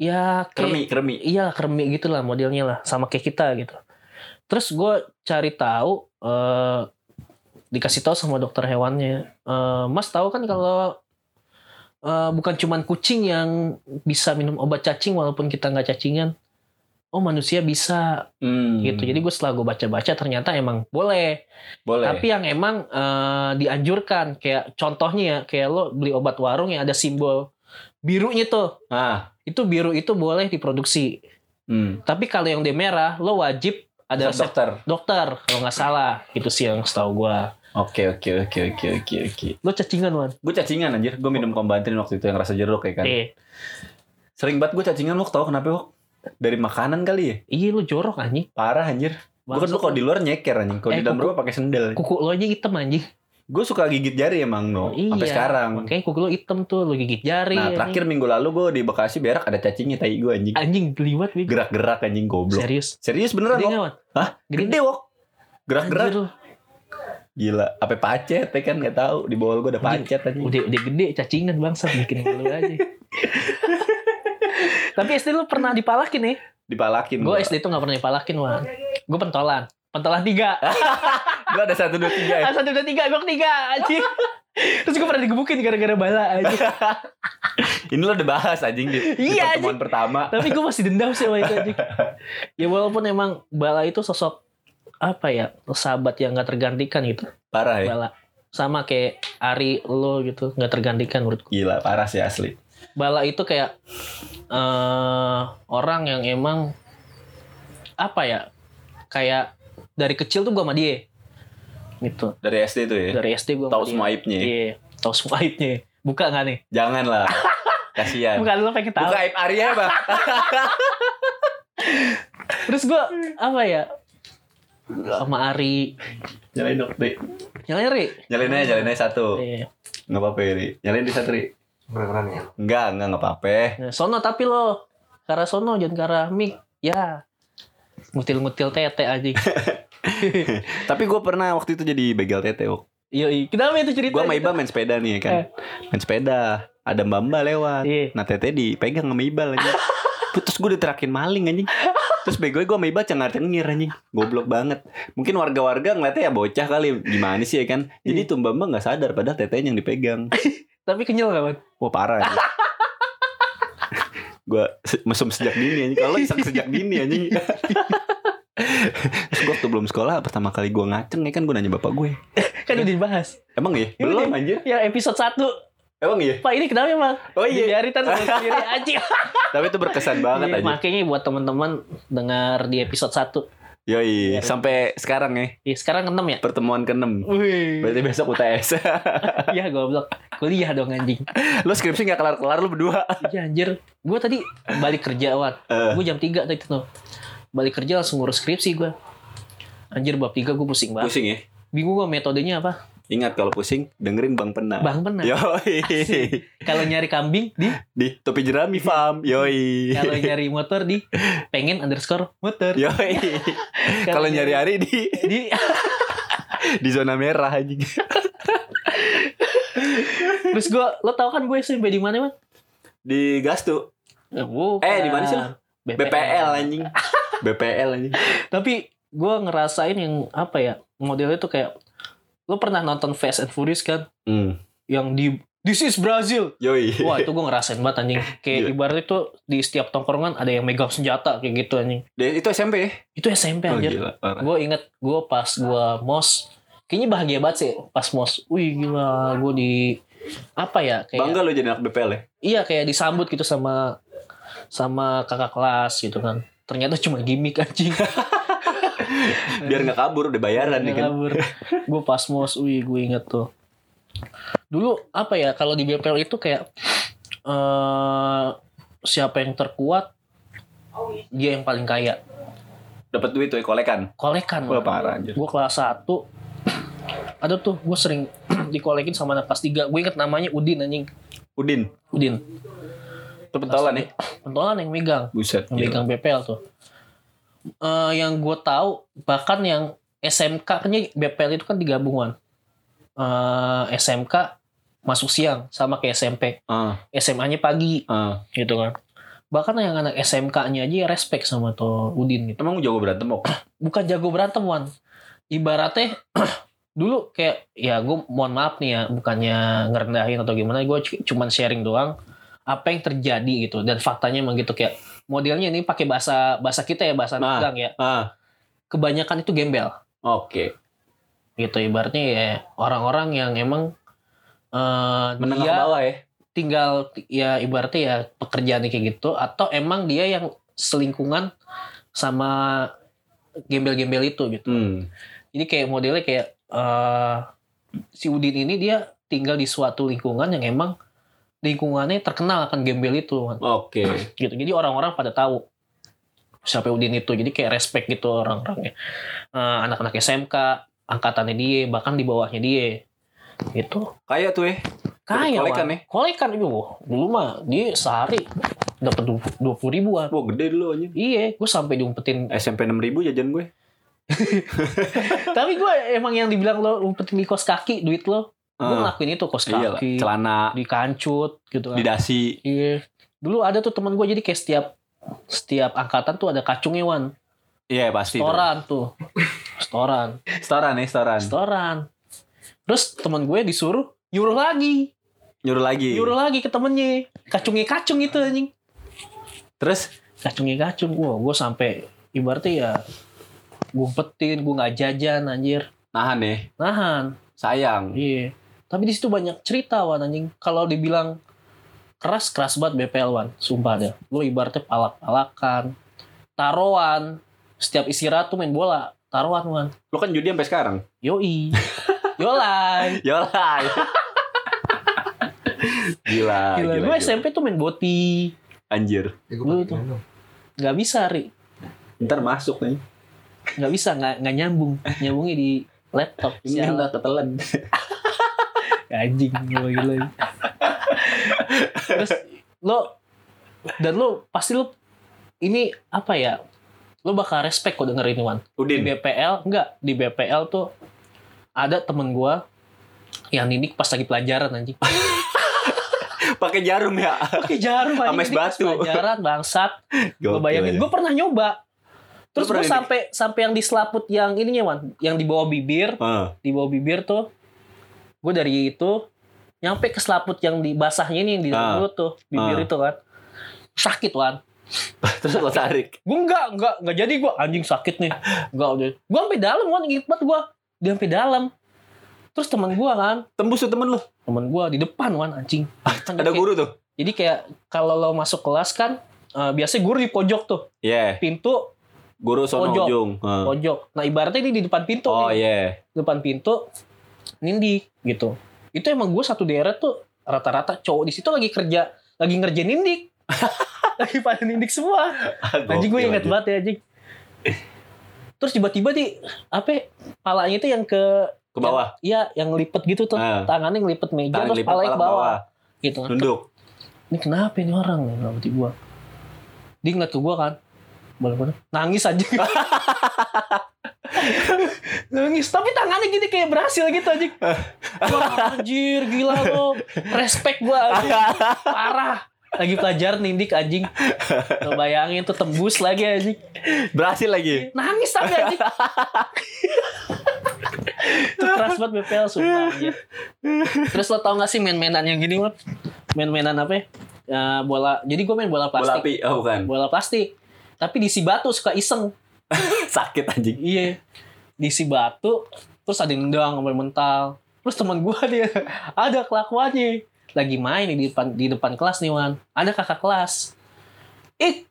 Speaker 1: ya kayak
Speaker 2: Kermi, kermi.
Speaker 1: iya kermi gitu lah modelnya lah sama kayak kita gitu terus gue cari tahu eh, dikasih tahu sama dokter hewannya Eh, mas tahu kan kalau eh, bukan cuman kucing yang bisa minum obat cacing walaupun kita nggak cacingan oh manusia bisa
Speaker 2: Hmm.
Speaker 1: gitu jadi gue setelah gue baca-baca ternyata emang boleh
Speaker 2: boleh.
Speaker 1: tapi yang emang eh, dianjurkan kayak contohnya ya kayak lo beli obat warung yang ada simbol birunya tuh
Speaker 2: ah,
Speaker 1: itu biru itu boleh diproduksi
Speaker 2: hmm.
Speaker 1: tapi kalau yang di merah lo wajib ada
Speaker 2: Resep
Speaker 1: resep
Speaker 2: dokter.
Speaker 1: dokter kalau nggak salah gitu sih yang setahu gua
Speaker 2: Oke, oke, oke, oke, oke, oke.
Speaker 1: lo cacingan wan
Speaker 2: Gue cacingan anjir, gue
Speaker 1: Oh.
Speaker 2: minum kombantin waktu itu yang rasa jeruk ya kan.
Speaker 1: eh
Speaker 2: Sering banget gue cacingan, lo tau kenapa Wok? Dari makanan kali ya?
Speaker 1: iya lo jorok anjing
Speaker 2: Parah anjir. Gue kan
Speaker 1: Bangsat
Speaker 2: lu kalau di luar nyeker anjing, kalau
Speaker 1: Eh,
Speaker 2: di dalam
Speaker 1: kuku-
Speaker 2: rumah pakai sendal.
Speaker 1: kuku lo aja hitam anjing
Speaker 2: Gue suka gigit jari emang no, Oh, sampai sekarang.
Speaker 1: Iya, makanya kuku lo hitam tuh lo gigit jari
Speaker 2: Nah,
Speaker 1: anjing.
Speaker 2: terakhir minggu lalu gue di Bekasi berak ada cacingnya tai gue anjing.
Speaker 1: anjing beliwat bego.
Speaker 2: Gerak-gerak anjing goblok.
Speaker 1: serius
Speaker 2: Serius beneran
Speaker 1: gede
Speaker 2: Wok?
Speaker 1: nggak wan
Speaker 2: Hah? Gede Wok. Gerak-gerak
Speaker 1: Anjir lo.
Speaker 2: Gila, apa pacet ya kan nggak tahu di bawah gue ada
Speaker 1: Anjing,
Speaker 2: pacet anjing.
Speaker 1: udah udah gede cacingan bangsa bikin malu aja tapi SD lu pernah dipalakin nih
Speaker 2: Dipalakin
Speaker 1: gue
Speaker 2: gue.
Speaker 1: SD tuh nggak pernah dipalakin wan gue pentolan pentolan tiga
Speaker 2: Gue ada satu dua tiga. ya.
Speaker 1: Ah, satu dua tiga gue tiga anjing terus gue pernah digebukin gara-gara bala aja
Speaker 2: Ini lo udah bahas anjing di, di
Speaker 1: Iya,
Speaker 2: pertemuan pertama.
Speaker 1: tapi gue masih dendam sih sama itu anjing ya walaupun emang bala itu sosok apa ya sahabat yang nggak tergantikan gitu
Speaker 2: Parah ya.
Speaker 1: bala sama kayak Ari lo gitu nggak tergantikan menurut gua.
Speaker 2: Gila, parah sih asli.
Speaker 1: Bala itu kayak eh orang yang emang apa ya kayak dari kecil tuh gua sama dia gitu
Speaker 2: Dari SD tuh ya.
Speaker 1: dari SD gua
Speaker 2: Tahu
Speaker 1: sama
Speaker 2: semua aibnya. ya.
Speaker 1: dia. Iya, tahu semua aibnya buka nggak nih
Speaker 2: Jangan lah. Kasihan.
Speaker 1: bukan lo pengen tahu
Speaker 2: Buka aib Arya, Pak.
Speaker 1: terus gua apa ya sama Ari
Speaker 2: nyalain dong, Ri.
Speaker 1: yang lain Ri
Speaker 2: Nyalain aja, nyalain aja satu.
Speaker 1: Iya.
Speaker 2: Enggak apa-apa, ya, Ri. Nyalain di satu, Ri.
Speaker 3: Beneran ya.
Speaker 2: Enggak, enggak enggak apa-apa.
Speaker 1: Nah, sono tapi lo kara sono jangan kara mik ya ngutil-ngutil tete aja
Speaker 2: Tapi gue pernah waktu itu jadi begal tete, Wok.
Speaker 1: Yoi, kenapa itu cerita?
Speaker 2: Gue sama Iba main sepeda nih ya kan.
Speaker 1: Eh.
Speaker 2: Main sepeda. Ada Mbak Mbak lewat.
Speaker 1: Iya.
Speaker 2: Nah Tete dipegang sama Ibal anjing. Terus gue diterakin maling anjing. Terus bego gue sama Ibal cengar-cengir anjing. Goblok banget. Mungkin warga-warga ngeliatnya ya bocah kali. Gimana sih ya kan. Jadi
Speaker 1: Iya.
Speaker 2: tuh Mbak Mbak gak sadar padahal tetenya yang dipegang.
Speaker 1: Tapi kenyal gak, Man?
Speaker 2: Wah parah anjing. gue mesum sejak dini anjing. Kalau iseng sejak dini anjing. Terus gue waktu belum sekolah pertama kali gue ngaceng ya kan gue nanya bapak gue.
Speaker 1: Kan udah dibahas.
Speaker 2: Emang ya?
Speaker 1: Ini
Speaker 2: Belum
Speaker 1: dia.
Speaker 2: anjir.
Speaker 1: Ya episode 1
Speaker 2: Emang ya?
Speaker 1: Pak ini kenapa emang?
Speaker 2: Oh iya.
Speaker 1: Biarin kan sama sendiri aja.
Speaker 2: Tapi itu berkesan banget
Speaker 1: Iya,
Speaker 2: anjing.
Speaker 1: Makanya buat teman-teman dengar di episode 1
Speaker 2: Yoi. Sampai sekarang ya.
Speaker 1: Ya sekarang 6 ya.
Speaker 2: Pertemuan ke-6.
Speaker 1: Wih,
Speaker 2: Berarti besok UTS.
Speaker 1: ya goblok. Kuliah dong anjing.
Speaker 2: lu skripsi gak kelar-kelar lu berdua.
Speaker 1: Iya anjir. Gua tadi balik kerja, Wan.
Speaker 2: Eh.
Speaker 1: Gua jam 3 tadi tuh. Balik kerja langsung ngurus skripsi gua. Anjir bab 3 gua pusing banget.
Speaker 2: Pusing ya?
Speaker 1: Bingung gua metodenya apa?
Speaker 2: Ingat kalau pusing dengerin Bang Pena.
Speaker 1: Bang benar.
Speaker 2: Yoi.
Speaker 1: Asik. Kalau nyari kambing di,
Speaker 2: Di topi jerami farm. Yoi.
Speaker 1: kalau nyari motor di, pengen underscore motor.
Speaker 2: Yoi. Kalau nyari hari di
Speaker 1: di,
Speaker 2: di zona merah anjing.
Speaker 1: terus gue, lo tau kan gue SMP di mana man?
Speaker 2: Di gas tuh.
Speaker 1: Eh, bukan.
Speaker 2: Eh, di mana sih lo? BPL anjing. BPL anjing.
Speaker 1: Tapi gue ngerasain yang apa ya modelnya tuh kayak lo pernah nonton Fast and Furious kan?
Speaker 2: Hmm.
Speaker 1: Yang di This is Brazil.
Speaker 2: Yoi.
Speaker 1: Wah itu gue ngerasain banget anjing. Kayak
Speaker 2: Iya.
Speaker 1: ibaratnya tuh di setiap tongkrongan ada yang megang senjata kayak gitu anjing.
Speaker 2: Dan itu SMP.
Speaker 1: Itu SMP
Speaker 2: Oh,
Speaker 1: anjir.
Speaker 2: gila. parah.
Speaker 1: gue inget gue pas gue mos kayaknya bahagia banget sih pas mos wih gila gue di apa ya kayak
Speaker 2: Bangga lo jadi anak BPL ya?
Speaker 1: iya kayak disambut gitu sama sama kakak kelas gitu kan ternyata cuma gimmick anjing
Speaker 2: Biar nggak kabur udah bayaran nih kan.
Speaker 1: Iya. gue pas mos wih gue inget tuh dulu apa ya kalau di BPL itu kayak eh siapa yang terkuat dia yang paling kaya
Speaker 2: Dapat duit tuh ya, kolekan.
Speaker 1: kolekan
Speaker 2: Wah parah anjir.
Speaker 1: gue kelas 1 ada tuh gue sering dikolekin sama anak kelas 3 gue inget namanya Udin anjing
Speaker 2: Udin,
Speaker 1: Udin
Speaker 2: itu pentolan ya?
Speaker 1: pentolan yang megang
Speaker 2: Buset. gila.
Speaker 1: yang megang BPL tuh Iya. Eh, yang gue tahu bahkan yang SMK kan ya BPL itu kan digabungan Eh, SMK masuk siang sama kayak SMP
Speaker 2: Ah,
Speaker 1: SMA nya pagi
Speaker 2: ah.
Speaker 1: gitu kan bahkan yang anak SMK nya aja respect sama tuh Udin gitu
Speaker 2: Emang jago berantem kok?
Speaker 1: bukan jago berantem wan ibaratnya dulu kayak ya gue mohon maaf nih ya bukannya ngerendahin atau gimana gue cu- cuman sharing doang apa yang terjadi gitu dan faktanya emang gitu kayak modelnya ini pakai bahasa bahasa kita ya bahasa
Speaker 2: Nah.
Speaker 1: gang ya
Speaker 2: Ah,
Speaker 1: kebanyakan itu gembel
Speaker 2: oke.
Speaker 1: gitu ibaratnya ya orang-orang yang emang eh
Speaker 2: Menengah
Speaker 1: dia
Speaker 2: ke bawah ya.
Speaker 1: tinggal ya ibaratnya ya pekerjaannya kayak gitu atau emang dia yang selingkungan sama gembel-gembel itu gitu
Speaker 2: Hmm.
Speaker 1: Jadi kayak modelnya kayak eh si Udin ini dia tinggal di suatu lingkungan yang emang lingkungannya terkenal akan gembel itu kan.
Speaker 2: Oke.
Speaker 1: gitu. Jadi orang-orang pada tahu siapa Udin itu. Jadi kayak respect gitu orang-orangnya. Eh, anak-anak SMK, angkatannya dia, bahkan di bawahnya dia. Gitu.
Speaker 2: Kayak tuh ya.
Speaker 1: Kaya
Speaker 2: Kolekan
Speaker 1: Wan.
Speaker 2: ya?
Speaker 1: Kolekan itu. Dulu mah dia sehari dapat 20 ribuan.
Speaker 2: Wah, gede dulu anjing.
Speaker 1: Iya, gue sampai diumpetin.
Speaker 2: SMP 6000 jajan gue.
Speaker 1: Tapi gue emang yang dibilang lo umpetin di kos kaki duit lo gue
Speaker 2: Ah,
Speaker 1: ngelakuin itu kos
Speaker 2: iya lah.
Speaker 1: kaki
Speaker 2: Celana
Speaker 1: dikancut gitu
Speaker 2: di
Speaker 1: kan
Speaker 2: dasi.
Speaker 1: iya dulu ada tuh teman gue jadi kayak setiap setiap angkatan tuh ada kacungnya wan
Speaker 2: Iya pasti. tuh.
Speaker 1: storan tuh storan
Speaker 2: Setoran ya, setoran.
Speaker 1: storan terus teman gue disuruh nyuruh lagi
Speaker 2: Nyuruh lagi.
Speaker 1: nyuruh lagi ke temennya kacungnya kacung itu anjing
Speaker 2: Terus
Speaker 1: kacungnya kacung gue gue sampai ibaratnya ya gue petin gue nggak jajan anjir
Speaker 2: nahan ya.
Speaker 1: nahan
Speaker 2: Sayang.
Speaker 1: Iya. Tapi di situ banyak cerita wan anjing. Kalau dibilang keras keras banget BPL wan, sumpah deh. Lu ibaratnya palak-palakan, taruhan, setiap istirahat tuh main bola, taruhan wan.
Speaker 2: Lo kan judi sampai sekarang.
Speaker 1: Yoi. Yolai.
Speaker 2: Yolah. gila,
Speaker 1: Gila,
Speaker 2: Ah, gila,
Speaker 1: gue
Speaker 2: gila.
Speaker 1: SMP tuh main boti.
Speaker 2: Anjir.
Speaker 3: Ya, gua
Speaker 1: Lu
Speaker 3: pakai
Speaker 1: tuh.
Speaker 3: minum.
Speaker 1: Gak bisa, Ri.
Speaker 2: Ntar masuk nih.
Speaker 1: Gak bisa, gak, nggak nyambung. Nyambungnya di laptop.
Speaker 2: Ini
Speaker 1: Sialan.
Speaker 2: ntar ketelan.
Speaker 1: Anjing, gila gila. Terus lo dan lo pasti lo ini apa ya? Lo bakal respect kok denger ini Wan. Di
Speaker 2: Udin. ya.
Speaker 1: BPL enggak, di BPL tuh ada temen gua yang ini pas lagi pelajaran anjing.
Speaker 2: Pakai jarum ya.
Speaker 1: Pakai jarum anjing.
Speaker 2: Ames
Speaker 1: ini pas
Speaker 2: batu.
Speaker 1: Pelajaran bangsat. Lo
Speaker 2: Gokil
Speaker 1: bayangin,
Speaker 2: ya.
Speaker 1: gue pernah nyoba. Terus
Speaker 2: pernah
Speaker 1: gue
Speaker 2: ini?
Speaker 1: sampai sampai yang diselaput yang ininya Wan, yang di bawah bibir,
Speaker 2: Ah.
Speaker 1: di bawah bibir tuh gue dari itu nyampe ke selaput yang di basahnya ini yang di
Speaker 2: Ah.
Speaker 1: dalam mulut tuh bibir
Speaker 2: Ah.
Speaker 1: itu kan sakit wan
Speaker 2: Terus lo tarik.
Speaker 1: gue enggak enggak enggak jadi gue anjing sakit nih enggak udah gue sampai dalam wan gigit banget gue dia sampai dalam terus teman gue kan
Speaker 2: Tembus tuh temen lo.
Speaker 1: teman gue di depan wan anjing Kan
Speaker 2: Ada
Speaker 1: kayak-
Speaker 2: guru tuh.
Speaker 1: jadi kayak kalau lo masuk kelas kan eh, biasanya guru di pojok tuh
Speaker 2: Iya.
Speaker 1: pintu
Speaker 2: Guru sono
Speaker 1: Pojok.
Speaker 2: ujung. Ah.
Speaker 1: pojok nah ibaratnya ini di depan pintu
Speaker 2: Oh
Speaker 1: nih.
Speaker 2: iya.
Speaker 1: depan pintu nindi gitu itu emang gue satu daerah tuh rata-rata cowok di situ lagi kerja lagi ngerjain nindik lagi pada nindik semua anjing gue inget banget ya anjing terus tiba-tiba di apa ya, palanya itu yang ke
Speaker 2: ke bawah.
Speaker 1: Iya, yang lipet gitu tuh.
Speaker 2: Ah.
Speaker 1: Tangannya ngelipet meja
Speaker 2: Tangan
Speaker 1: terus
Speaker 2: lipat
Speaker 1: kepala
Speaker 2: pala
Speaker 1: ke
Speaker 2: ke
Speaker 1: bawah.
Speaker 2: bawah.
Speaker 1: Gitu.
Speaker 2: Nunduk.
Speaker 1: Ini kenapa ini orang nih ngelamutin gua? Dia ngeliat ke gua kan. Balik-balik. Nangis aja. Nangis. Tapi tangannya gini kayak berhasil gitu aja. Wah, anjir gila lo. Respect gua anjing. Parah. Lagi pelajaran nindik anjing. Lo bayangin tuh tembus lagi anjing.
Speaker 2: Berhasil lagi.
Speaker 1: Nangis tapi anjing. Itu keras banget BPL sumpah anjing. Terus lo tau gak sih main-mainan yang gini Mat? Main-mainan apa ya? Ya, bola. Jadi gue main bola
Speaker 2: Bola
Speaker 1: plastik.
Speaker 2: api. Oh bukan.
Speaker 1: Bola, plastik. Tapi diisi batu suka iseng.
Speaker 2: Sakit anjing.
Speaker 1: Iya. Diisi batu. Terus ada yang nendang sampai mental. Terus teman gue dia ada kelakuannya. Lagi main nih di depan di depan kelas nih Wan. Ada kakak kelas. Ik,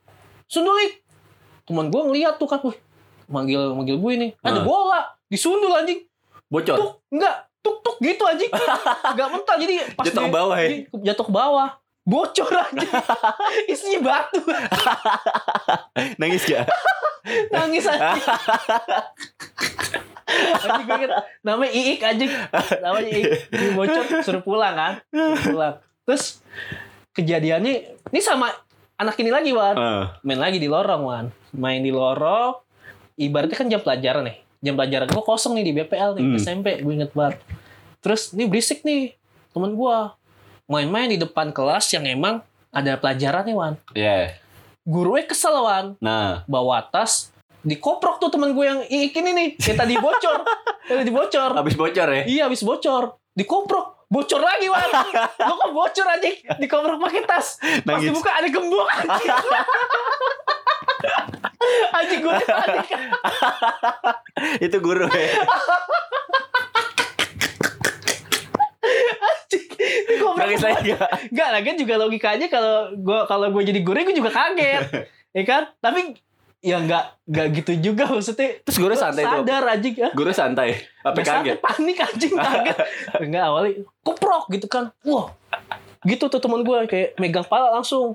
Speaker 1: sundul ik. Teman gue ngeliat tuh kan, wih, manggil manggil gue nih.
Speaker 2: Ah. Iya.
Speaker 1: Ada bola, disundul anjing
Speaker 2: Bocor.
Speaker 1: tuk enggak tuk tuk gitu aja enggak mental jadi pas
Speaker 2: Jatuh
Speaker 1: dia-
Speaker 2: ke bawah ya?
Speaker 1: dia jatuh ke bawah bocor aja isinya batu
Speaker 2: Nangis gak?
Speaker 1: nangis aja Nanti gue inget, namanya Iik aja namanya Iik Dia bocor suruh pulang kan suruh pulang terus kejadiannya ini sama anak ini lagi Wan
Speaker 2: Eh,
Speaker 1: main lagi di lorong Wan main di lorong ibaratnya kan jam pelajaran nih jam pelajaran gue kosong nih di BPL nih
Speaker 2: Hmm.
Speaker 1: SMP gue inget banget terus nih berisik nih temen gue main-main di depan kelas yang emang ada pelajaran nih Wan
Speaker 2: Ya.
Speaker 1: gurunya kesel Wan
Speaker 2: Nah.
Speaker 1: bawa tas dikoprok tuh temen gue yang iik ini nih yang tadi bocor yang tadi bocor
Speaker 2: Habis bocor ya.
Speaker 1: Iya habis bocor. Dikoprok. Bocor lagi, Wan. Lo kok bocor anjing? Dikoprok pakai tas. Pas
Speaker 2: Nangis.
Speaker 1: dibuka ada gembok anjing. anjing gue panik.
Speaker 2: Itu guru ya.
Speaker 1: Anjing. Dikoprok.
Speaker 2: Nangis lagi gak?
Speaker 1: Enggak, lagian juga logikanya kalau gua kalau gue jadi guru gue juga kaget. ya kan? Tapi ya enggak enggak gitu juga maksudnya.
Speaker 2: Terus guru santai tuh.
Speaker 1: Sadar anjing ya.
Speaker 2: Guru santai. Apa
Speaker 1: Biasa
Speaker 2: kaget?
Speaker 1: tuh panik anjing kaget. Enggak awalnya koprok gitu kan. Wah. Gitu tuh teman gue kayak megang pala langsung.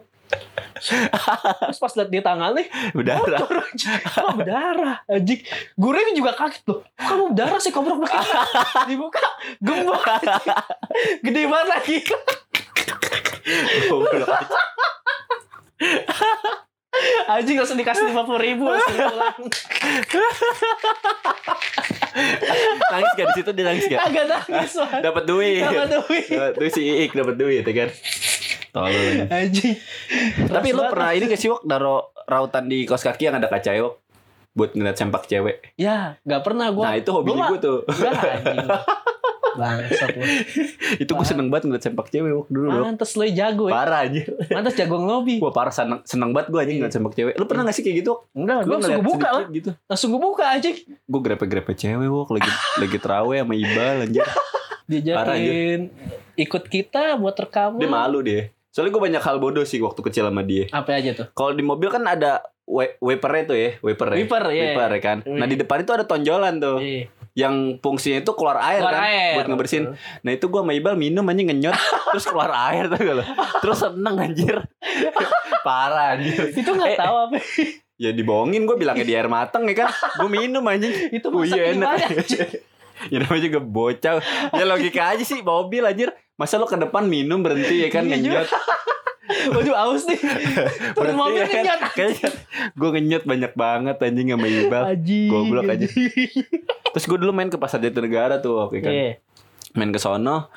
Speaker 1: Terus pas liat dia tangannya
Speaker 2: Berdarah.
Speaker 1: bocor aja. Wah, berdarah anjing. Guru ini juga kaget loh. "Kok Kamu berdarah sih koprok begini. Dibuka gembok. anjing. Gede banget lagi.
Speaker 2: Goblok.
Speaker 1: Anjing langsung dikasih 50 ribu langsung pulang.
Speaker 2: nangis gak di situ dia nangis gak?
Speaker 1: Agak nangis banget.
Speaker 2: Ya. Dapat duit.
Speaker 1: Dapat duit.
Speaker 2: Dapat duit si Iik dapat duit ya kan. Tolong.
Speaker 1: Anjing.
Speaker 2: Tapi
Speaker 1: Keras
Speaker 2: lu
Speaker 1: banget.
Speaker 2: pernah ini gak sih Wok naro rautan di kos kaki yang ada kaca Wok buat ngeliat sempak cewek.
Speaker 1: Ya, gak pernah gue.
Speaker 2: nah, itu hobi gue
Speaker 1: gua-
Speaker 2: tuh.
Speaker 1: Enggak Iya, anjing. Bangsat lu.
Speaker 2: itu gue seneng banget ngeliat sempak cewek Wok dulu. Wok.
Speaker 1: Mantes lu jago ya.
Speaker 2: Parah aja.
Speaker 1: Mantes jago ngelobi.
Speaker 2: Gua parah seneng, seneng banget gue aja ngeliat sempak cewek. Lu pernah gak sih kayak gitu? Wok?
Speaker 1: Enggak,
Speaker 2: Gua
Speaker 1: gue langsung
Speaker 2: ngeliat
Speaker 1: gue buka lah.
Speaker 2: sedikit gitu.
Speaker 1: Langsung gue buka anjing.
Speaker 2: Gue grepe-grepe cewek Wok lagi lagi terawih sama Ibal anjir. Parah, iya.
Speaker 1: Diajakin ikut kita buat rekaman.
Speaker 2: Dia malu deh. Soalnya gue banyak hal bodoh sih waktu kecil sama dia.
Speaker 1: Apa aja tuh?
Speaker 2: Kalau di mobil kan ada wa- wipernya tuh ya, wipernya.
Speaker 1: Wiper ya.
Speaker 2: Wiper ya kan. Nah di depan itu ada tonjolan tuh,
Speaker 1: Iya.
Speaker 2: yang fungsinya itu keluar air
Speaker 1: Keluar
Speaker 2: kan,
Speaker 1: air.
Speaker 2: buat ngebersihin. Nah itu gua sama Ibal minum aja ngenyot, terus keluar air tuh loh. Terus seneng anjir, parah anjir.
Speaker 1: Itu nggak
Speaker 2: Eh.
Speaker 1: tahu apa.
Speaker 2: Ya dibohongin gue bilangnya di air mateng ya kan, gue minum anjing.
Speaker 1: Itu
Speaker 2: Oh
Speaker 1: masak
Speaker 2: iya
Speaker 1: gimana?
Speaker 2: enak. ya namanya juga bocah. Ya logika aja sih mobil anjir. Masa lo ke depan minum berhenti ya kan
Speaker 1: Iya juga.
Speaker 2: ngenyot.
Speaker 1: Waduh aus nih. Turun mobil
Speaker 2: ya kan?
Speaker 1: kenyat.
Speaker 2: Kayaknya gue ngenyot banyak banget anjing sama Ibal.
Speaker 1: Anjing.
Speaker 2: Goblok aja. Iya.
Speaker 1: anjing.
Speaker 2: Terus gue dulu main ke pasar Jatinegara tuh oke kan.
Speaker 1: Iya.
Speaker 2: Main ke sono.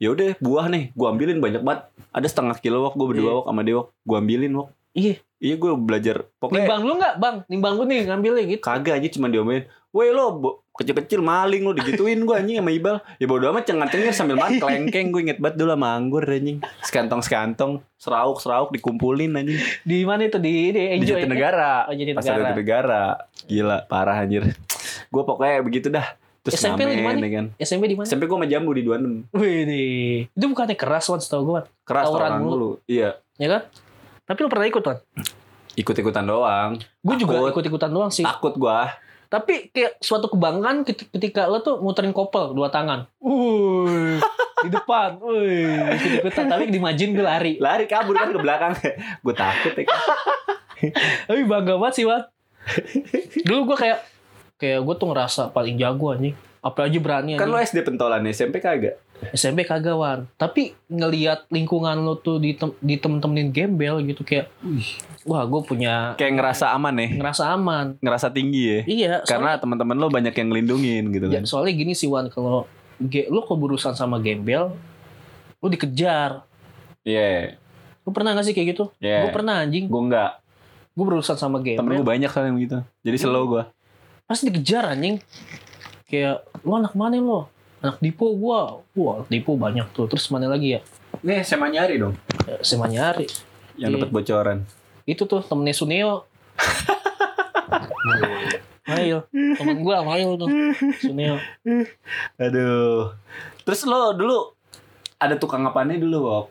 Speaker 2: Ya udah buah nih, gue ambilin banyak banget. Ada setengah kilo wok, gue berdua
Speaker 1: Iya.
Speaker 2: wok sama dia wok. Gue ambilin wok.
Speaker 1: Iya.
Speaker 2: Iya gue belajar. Pokoknya
Speaker 1: Nimbang lu nggak bang? Nimbang lu nih ngambilnya gitu.
Speaker 2: kagak aja cuma diomelin. Woi lo bo- kecil-kecil maling lo digituin gue anjing sama Ibal. Ya bodo amat cengar-cengir sambil makan kelengkeng. Gue inget banget dulu sama anggur anjing. Sekantong-sekantong, serauk-serauk dikumpulin anjing.
Speaker 1: Di mana itu di di
Speaker 2: Di
Speaker 1: enjoy.
Speaker 2: Jatinegara.
Speaker 1: Oh,
Speaker 2: Pasar
Speaker 1: Jatinegara.
Speaker 2: Jatinegara. Gila, parah anjir. Gue pokoknya begitu dah. Terus
Speaker 1: SMP lu di
Speaker 2: ngamen,
Speaker 1: mana?
Speaker 2: ya kan.
Speaker 1: SMP di mana?
Speaker 2: SMP gue sama Jambu di 26.
Speaker 1: Wih, di- itu bukannya keras wan setahu gue, Wan.
Speaker 2: keras
Speaker 1: Tawuran
Speaker 2: tawuran
Speaker 1: mulu.
Speaker 2: dulu iya
Speaker 1: ya kan? Tapi lu pernah ikut wan?
Speaker 2: ikut-ikutan doang
Speaker 1: Gue juga
Speaker 2: Takut.
Speaker 1: ikut-ikutan doang sih.
Speaker 2: takut gua
Speaker 1: Tapi kayak suatu kebanggaan ket- ketika lo tuh muterin kopel dua tangan. Wuih, di depan. Wuih, ikut-ikutan. Tapi di majin gue lari.
Speaker 2: lari kabur kan ke belakang gua takut ya kan.
Speaker 1: Tapi bangga banget sih, Wan. Dulu gue kayak kayak gue tuh ngerasa paling jago anjing. apalagi berani
Speaker 2: Kan
Speaker 1: anjing.
Speaker 2: lo SD pentolan SMP kagak.
Speaker 1: SMP kagak Wan. tapi ngelihat lingkungan lo tuh di tem- di temen-temenin gembel gitu kayak wah gue punya
Speaker 2: Kayak ngerasa aman nih,
Speaker 1: ngerasa aman
Speaker 2: ngerasa tinggi ya.
Speaker 1: iya soalnya,
Speaker 2: Karena teman-teman lo banyak yang ngelindungin gitu
Speaker 1: ya,
Speaker 2: kan.
Speaker 1: soalnya gini sih Wan kalau ge- lo keburusan sama gembel lo dikejar
Speaker 2: Iya.
Speaker 1: lo pernah gak sih kayak gitu
Speaker 2: Iya.
Speaker 1: gue pernah anjing
Speaker 2: Gue enggak.
Speaker 1: Iya, gue berurusan sama
Speaker 2: Temen
Speaker 1: gembel
Speaker 2: gue banyak soalnya yang gitu. Jadi
Speaker 1: Iya.
Speaker 2: slow gue.
Speaker 1: pasti dikejar anjing kayak lo anak mana lo anak dipo gua wah anak dipo banyak tuh terus mana lagi ya
Speaker 2: Nih SMA nyari dong.
Speaker 1: Eh, SMA nyari
Speaker 2: Yang
Speaker 1: Iya.
Speaker 2: dapat bocoran.
Speaker 1: itu tuh temennya Suneo Mail temen gua Mail tuh Suneo
Speaker 2: Aduh. Terus lo dulu ada tukang apanya dulu, Wok?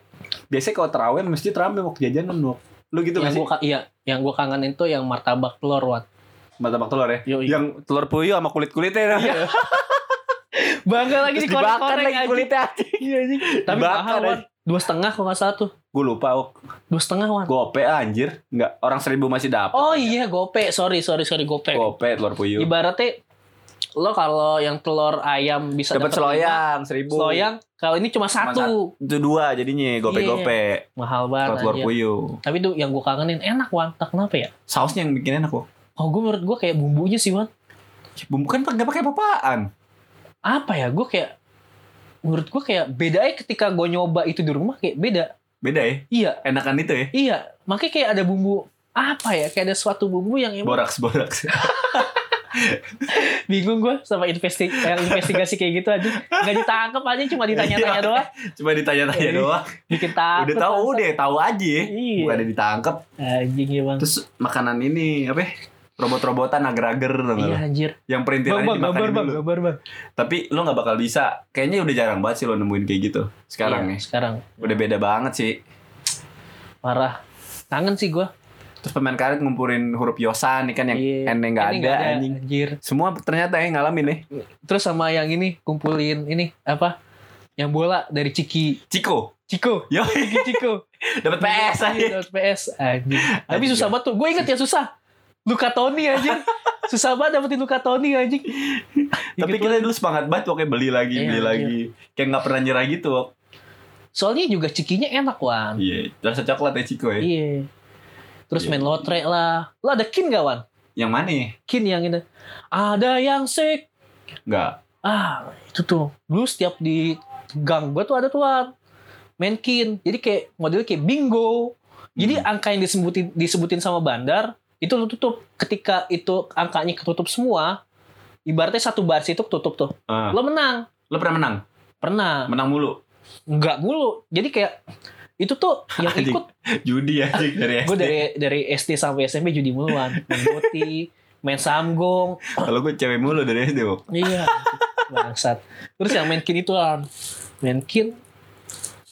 Speaker 2: Biasanya kalau terawih masjid rame Wok jajanan, Wok. Lu gitu
Speaker 1: yang
Speaker 2: nggak sih?
Speaker 1: gua ka- iya yang gua kangenin tuh yang martabak telur Wan
Speaker 2: Martabak telur ya?
Speaker 1: Yoi.
Speaker 2: Yang telur puyuh sama kulit-kulitnya. Iya.
Speaker 1: bangga
Speaker 2: Terus dibakar lagi kulitnya.
Speaker 1: iya anjing tapi
Speaker 2: Dibakar,
Speaker 1: mahal Wan
Speaker 2: anjing.
Speaker 1: dua setengah kalau nggak salah tuh
Speaker 2: Gue lupa, Wok.
Speaker 1: dua setengah Wan
Speaker 2: Gope anjir. Enggak, orang seribu masih dapet.
Speaker 1: oh iya gope sorry sorry sorry gope
Speaker 2: Gope telur puyuh.
Speaker 1: ibaratnya lo kalau yang telur ayam bisa
Speaker 2: Dapat
Speaker 1: dapet
Speaker 2: seloyang
Speaker 1: lima,
Speaker 2: seribu.
Speaker 1: seloyang Iya, kalau ini cuma satu
Speaker 2: Itu dua jadinya gope-gope.
Speaker 1: mahal
Speaker 2: Telur
Speaker 1: banget
Speaker 2: telur
Speaker 1: anjir.
Speaker 2: puyuh.
Speaker 1: tapi tuh yang gua kangenin enak Wan tak kenapa ya
Speaker 2: Sausnya yang bikin enak, Wok.
Speaker 1: oh gua menurut gua kayak bumbunya sih Wan
Speaker 2: Bumbu kan enggak pakai papaan.
Speaker 1: apa ya gue kayak menurut gue kayak bedanya ketika gue nyoba itu di rumah kayak beda
Speaker 2: Beda ya?
Speaker 1: iya
Speaker 2: Enakan itu ya?
Speaker 1: iya makanya kayak ada bumbu apa ya kayak ada suatu bumbu yang emang
Speaker 2: Boraks-boraks.
Speaker 1: bingung gue sama investi yang investigasi kayak gitu aja nggak ditangkap aja cuma ditanya-tanya
Speaker 2: Iya.
Speaker 1: doang
Speaker 2: Cuma ditanya-tanya
Speaker 1: Iya.
Speaker 2: doang.
Speaker 1: bikin takut
Speaker 2: udah tahu
Speaker 1: bangsa.
Speaker 2: udah tahu aja
Speaker 1: Iya.
Speaker 2: bukan ada ditangkep
Speaker 1: anjing ya bang
Speaker 2: terus makanan ini apa ya? robot-robotan ager-ager tau nggak
Speaker 1: iya
Speaker 2: lo?
Speaker 1: anjir
Speaker 2: yang
Speaker 1: bang
Speaker 2: perintilannya
Speaker 1: bang
Speaker 2: dimakan
Speaker 1: gambar bang
Speaker 2: dulu
Speaker 1: gambar bang
Speaker 2: tapi lo nggak bakal bisa kayaknya udah jarang banget sih lo nemuin kayak gitu sekarang
Speaker 1: Iya,
Speaker 2: nih
Speaker 1: sekarang
Speaker 2: udah beda banget sih
Speaker 1: parah kangen sih gue
Speaker 2: terus pemain karet ngumpulin huruf yosan nih kan yang
Speaker 1: Iya.
Speaker 2: ene nggak
Speaker 1: Ini
Speaker 2: ada anjing
Speaker 1: anjir
Speaker 2: semua ternyata yang ngalamin nih
Speaker 1: terus sama yang ini kumpulin ini apa yang bola dari Ciki
Speaker 2: Ciko
Speaker 1: Ciko
Speaker 2: yo
Speaker 1: Ciki Ciko
Speaker 2: dapat PS aja
Speaker 1: Iya, dapet PS anjing. Tapi
Speaker 2: Anjing.
Speaker 1: susah banget tuh. Gue inget ya susah. Luka Toni anjing. Susah banget dapetin Luka Toni anjing.
Speaker 2: tapi
Speaker 1: Ingat
Speaker 2: kita dulu semangat banget pokoknya beli lagi
Speaker 1: Gitu Iya,
Speaker 2: beli
Speaker 1: anjir.
Speaker 2: lagi kayak nggak pernah nyerah gitu Wok.
Speaker 1: banget. Soalnya juga cikinya enak, Wan.
Speaker 2: iya rasa coklat ya Ciko ya
Speaker 1: Iya. Terus
Speaker 2: Iya.
Speaker 1: main lotre lah. Lo ada kin gak, Wan?
Speaker 2: yang mana ya?
Speaker 1: Kin yang ini. Ada yang sick.
Speaker 2: nggak
Speaker 1: Ah, itu tuh. Dulu setiap di gang gue tuh ada tuh, Wan. Main kin. Jadi kayak modelnya kayak bingo. Jadi
Speaker 2: Hmm.
Speaker 1: angka yang disebutin disebutin sama bandar itu lu tutup. Ketika itu angkanya ketutup semua, ibaratnya satu baris itu ketutup tuh.
Speaker 2: Ah.
Speaker 1: Lo menang.
Speaker 2: Lo pernah menang?
Speaker 1: Pernah.
Speaker 2: Menang mulu.
Speaker 1: Enggak mulu. Jadi kayak itu tuh yang
Speaker 2: Anjing.
Speaker 1: ikut
Speaker 2: Judi aja dari SD.
Speaker 1: gue dari dari SD sampai SMP judi muluan, main boti, main samgong.
Speaker 2: Kalau gue cewek mulu dari SD, Bok.
Speaker 1: Iya. Bangsat. Terus yang main kin itu kan. Main kin.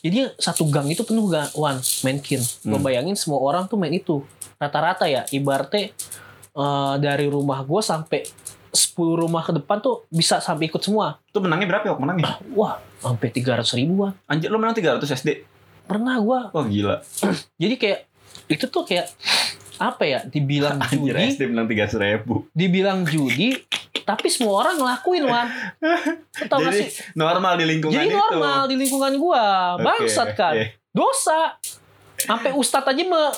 Speaker 1: Jadi satu gang itu penuh gak Wan main kin. Gue
Speaker 2: Hmm.
Speaker 1: bayangin semua orang tuh main itu. Rata-rata ya ibaratnya eh, dari rumah gue sampai 10 rumah ke depan tuh bisa sampai ikut semua.
Speaker 2: Itu menangnya berapa, ya, Bok? Menangnya?
Speaker 1: Wah, sampai 300 ribuan.
Speaker 2: Anjir, lo menang 300 SD.
Speaker 1: Pernah gue
Speaker 2: Wah, gila.
Speaker 1: Jadi kayak itu tuh kayak apa ya? Dibilang
Speaker 2: Anjir,
Speaker 1: judi,
Speaker 2: SD menang 300 ribu.
Speaker 1: dibilang judi, tapi semua orang ngelakuin Wan. Lo Tau gak
Speaker 2: Jadi
Speaker 1: sih?
Speaker 2: normal di lingkungan
Speaker 1: Jadi
Speaker 2: itu.
Speaker 1: normal di lingkungan gua,
Speaker 2: Oke, iya.
Speaker 1: bangsat kan.
Speaker 2: oke.
Speaker 1: Dosa. Sampai ustadz aja me-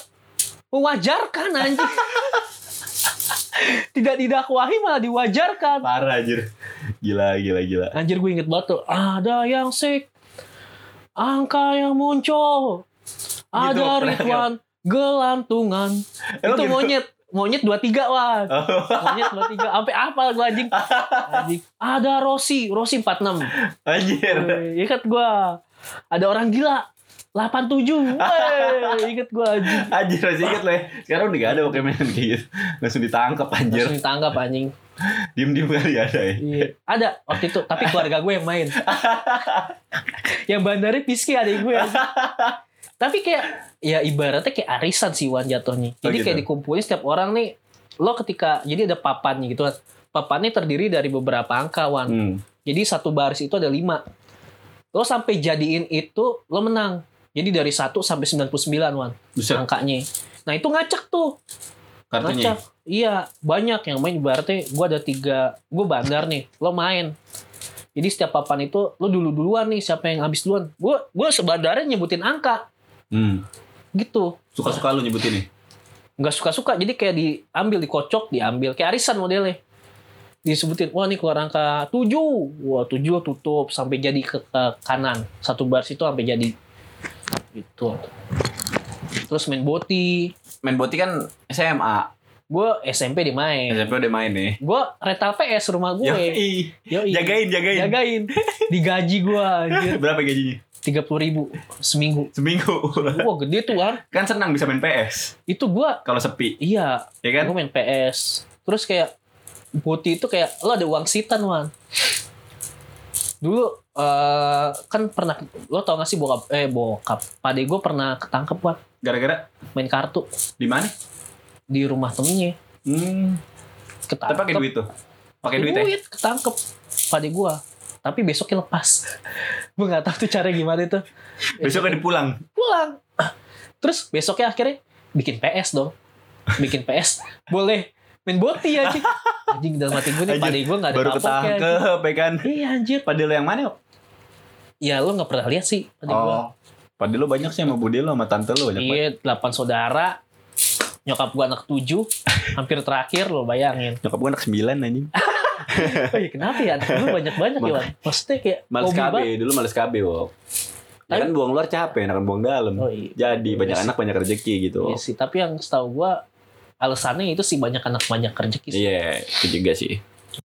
Speaker 1: mewajarkan anjing. Tidak didakwahi malah diwajarkan.
Speaker 2: Parah, anjir. Gila, gila, gila.
Speaker 1: Anjir gue inget banget tuh. Ada yang sik. Angka yang muncul. Ada
Speaker 2: Gitu,
Speaker 1: Ridwan gelantungan.
Speaker 2: Emang
Speaker 1: itu
Speaker 2: gitu?
Speaker 1: monyet. Monyet 23, Wan.
Speaker 2: Oh,
Speaker 1: Monyet 23. Sampai apal gue anjing. anjing. Ada Rossi. Rossi 46.
Speaker 2: anjir.
Speaker 1: Weh, Ingat gue. Ada orang gila. 87. Weh, Ingat gue anjing.
Speaker 2: Anjir, masih inget lah ya. Sekarang udah gak ada pokoknya mainan kayak gitu. Langsung ditangkap, anjir.
Speaker 1: Langsung ditanggap anjing.
Speaker 2: Diem-diem kali ada ya.
Speaker 1: Iya. Ada waktu itu. Tapi keluarga gue yang main. yang bandari piski adik gue. anjing. Tapi kayak. Ya ibaratnya kayak arisan sih Wan jatuhnya.
Speaker 2: Oh,
Speaker 1: Jadi kayak
Speaker 2: gitu.
Speaker 1: dikumpulin setiap orang nih. Lo ketika. Jadi ada papannya gitu kan. Papannya terdiri dari beberapa angka Wan.
Speaker 2: Hmm.
Speaker 1: Jadi satu baris itu ada lima. Lo sampai jadiin itu, lo menang. Jadi dari 1 sampai 99, Wan,
Speaker 2: Buset,
Speaker 1: angkanya. Nah, itu ngacak tuh.
Speaker 2: kartunya.
Speaker 1: Ngacak. Iya, banyak yang main. Berarti gue ada tiga. Gue bandar nih, lo main. Jadi setiap papan itu lu dulu duluan nih siapa yang habis duluan. Gue gue sebadarnya nyebutin angka
Speaker 2: Hmm.
Speaker 1: gitu.
Speaker 2: Suka-suka lu nyebutin nih.
Speaker 1: Nggak suka-suka. Jadi kayak diambil, dikocok, diambil kayak arisan modelnya. Disebutin, wah nih keluar angka 7. Wah 7 tutup sampai jadi ke, ke kanan. Satu bar situ sampai jadi gitu. Terus main boti.
Speaker 2: Main boti kan SMA.
Speaker 1: Gue SMP dimain.
Speaker 2: SMP udah main nih.
Speaker 1: Gue rental PS rumah gue.
Speaker 2: Yoi. Iya.
Speaker 1: Yoi.
Speaker 2: Jagain, jagain.
Speaker 1: Jagain. Digaji gue anjir.
Speaker 2: Berapa gajinya?
Speaker 1: tiga puluh ribu seminggu.
Speaker 2: Seminggu.
Speaker 1: Wah gede tuh kan.
Speaker 2: kan senang bisa main PS
Speaker 1: Itu gua
Speaker 2: kalau sepi,
Speaker 1: iya,
Speaker 2: ya kan?
Speaker 1: gua main PS. Terus kayak Boti itu kayak lo ada uang sitan wan. Dulu eh, kan pernah lo tau gak sih bokap eh bokap. Pade gue pernah ketangkep wan
Speaker 2: Gara-gara
Speaker 1: main kartu
Speaker 2: di mana?
Speaker 1: di rumah temennya.
Speaker 2: Hmm. Tapi
Speaker 1: Ketangkep.
Speaker 2: pakai duit tuh. Pakai duit
Speaker 1: Iya.
Speaker 2: ya.
Speaker 1: ketangkep pade gue. Tapi besoknya lepas. gue nggak tahu tuh cara gimana itu.
Speaker 2: Besoknya dipulang.
Speaker 1: pulang. Terus besoknya akhirnya bikin PS dong. Bikin PS. Boleh main boti anjing. Anjing dalam hati gue nih
Speaker 2: Anjir,
Speaker 1: padahal gue gak ada
Speaker 2: Baru
Speaker 1: kapoknya, anjing.
Speaker 2: ketangkep ya kan.
Speaker 1: Iya anjir.
Speaker 2: Padahal yang mana? Op?
Speaker 1: Ya lo gak pernah lihat sih. Tadi gua.
Speaker 2: Padahal lo banyak sih sama Bude lo sama tante lo Oh, banyak banget.
Speaker 1: Iya, 8 saudara. Nyokap gue anak 7. Hampir terakhir lo bayangin.
Speaker 2: Nyokap gue anak sembilan anjing.
Speaker 1: Ah, Oh iya kenapa ya? Anak lu banyak-banyak ya. Wan? Maksudnya kayak
Speaker 2: Males
Speaker 1: hobi
Speaker 2: KB,
Speaker 1: banget.
Speaker 2: dulu males KB, Wok. Ya kan buang luar capek, enakan buang dalam.
Speaker 1: Oh iya.
Speaker 2: Jadi banyak
Speaker 1: Iya sih.
Speaker 2: anak banyak rezeki gitu.
Speaker 1: Iya sih. Tapi yang setahu gue alasannya itu sih banyak anak banyak rezeki sih.
Speaker 2: Iya, itu juga sih.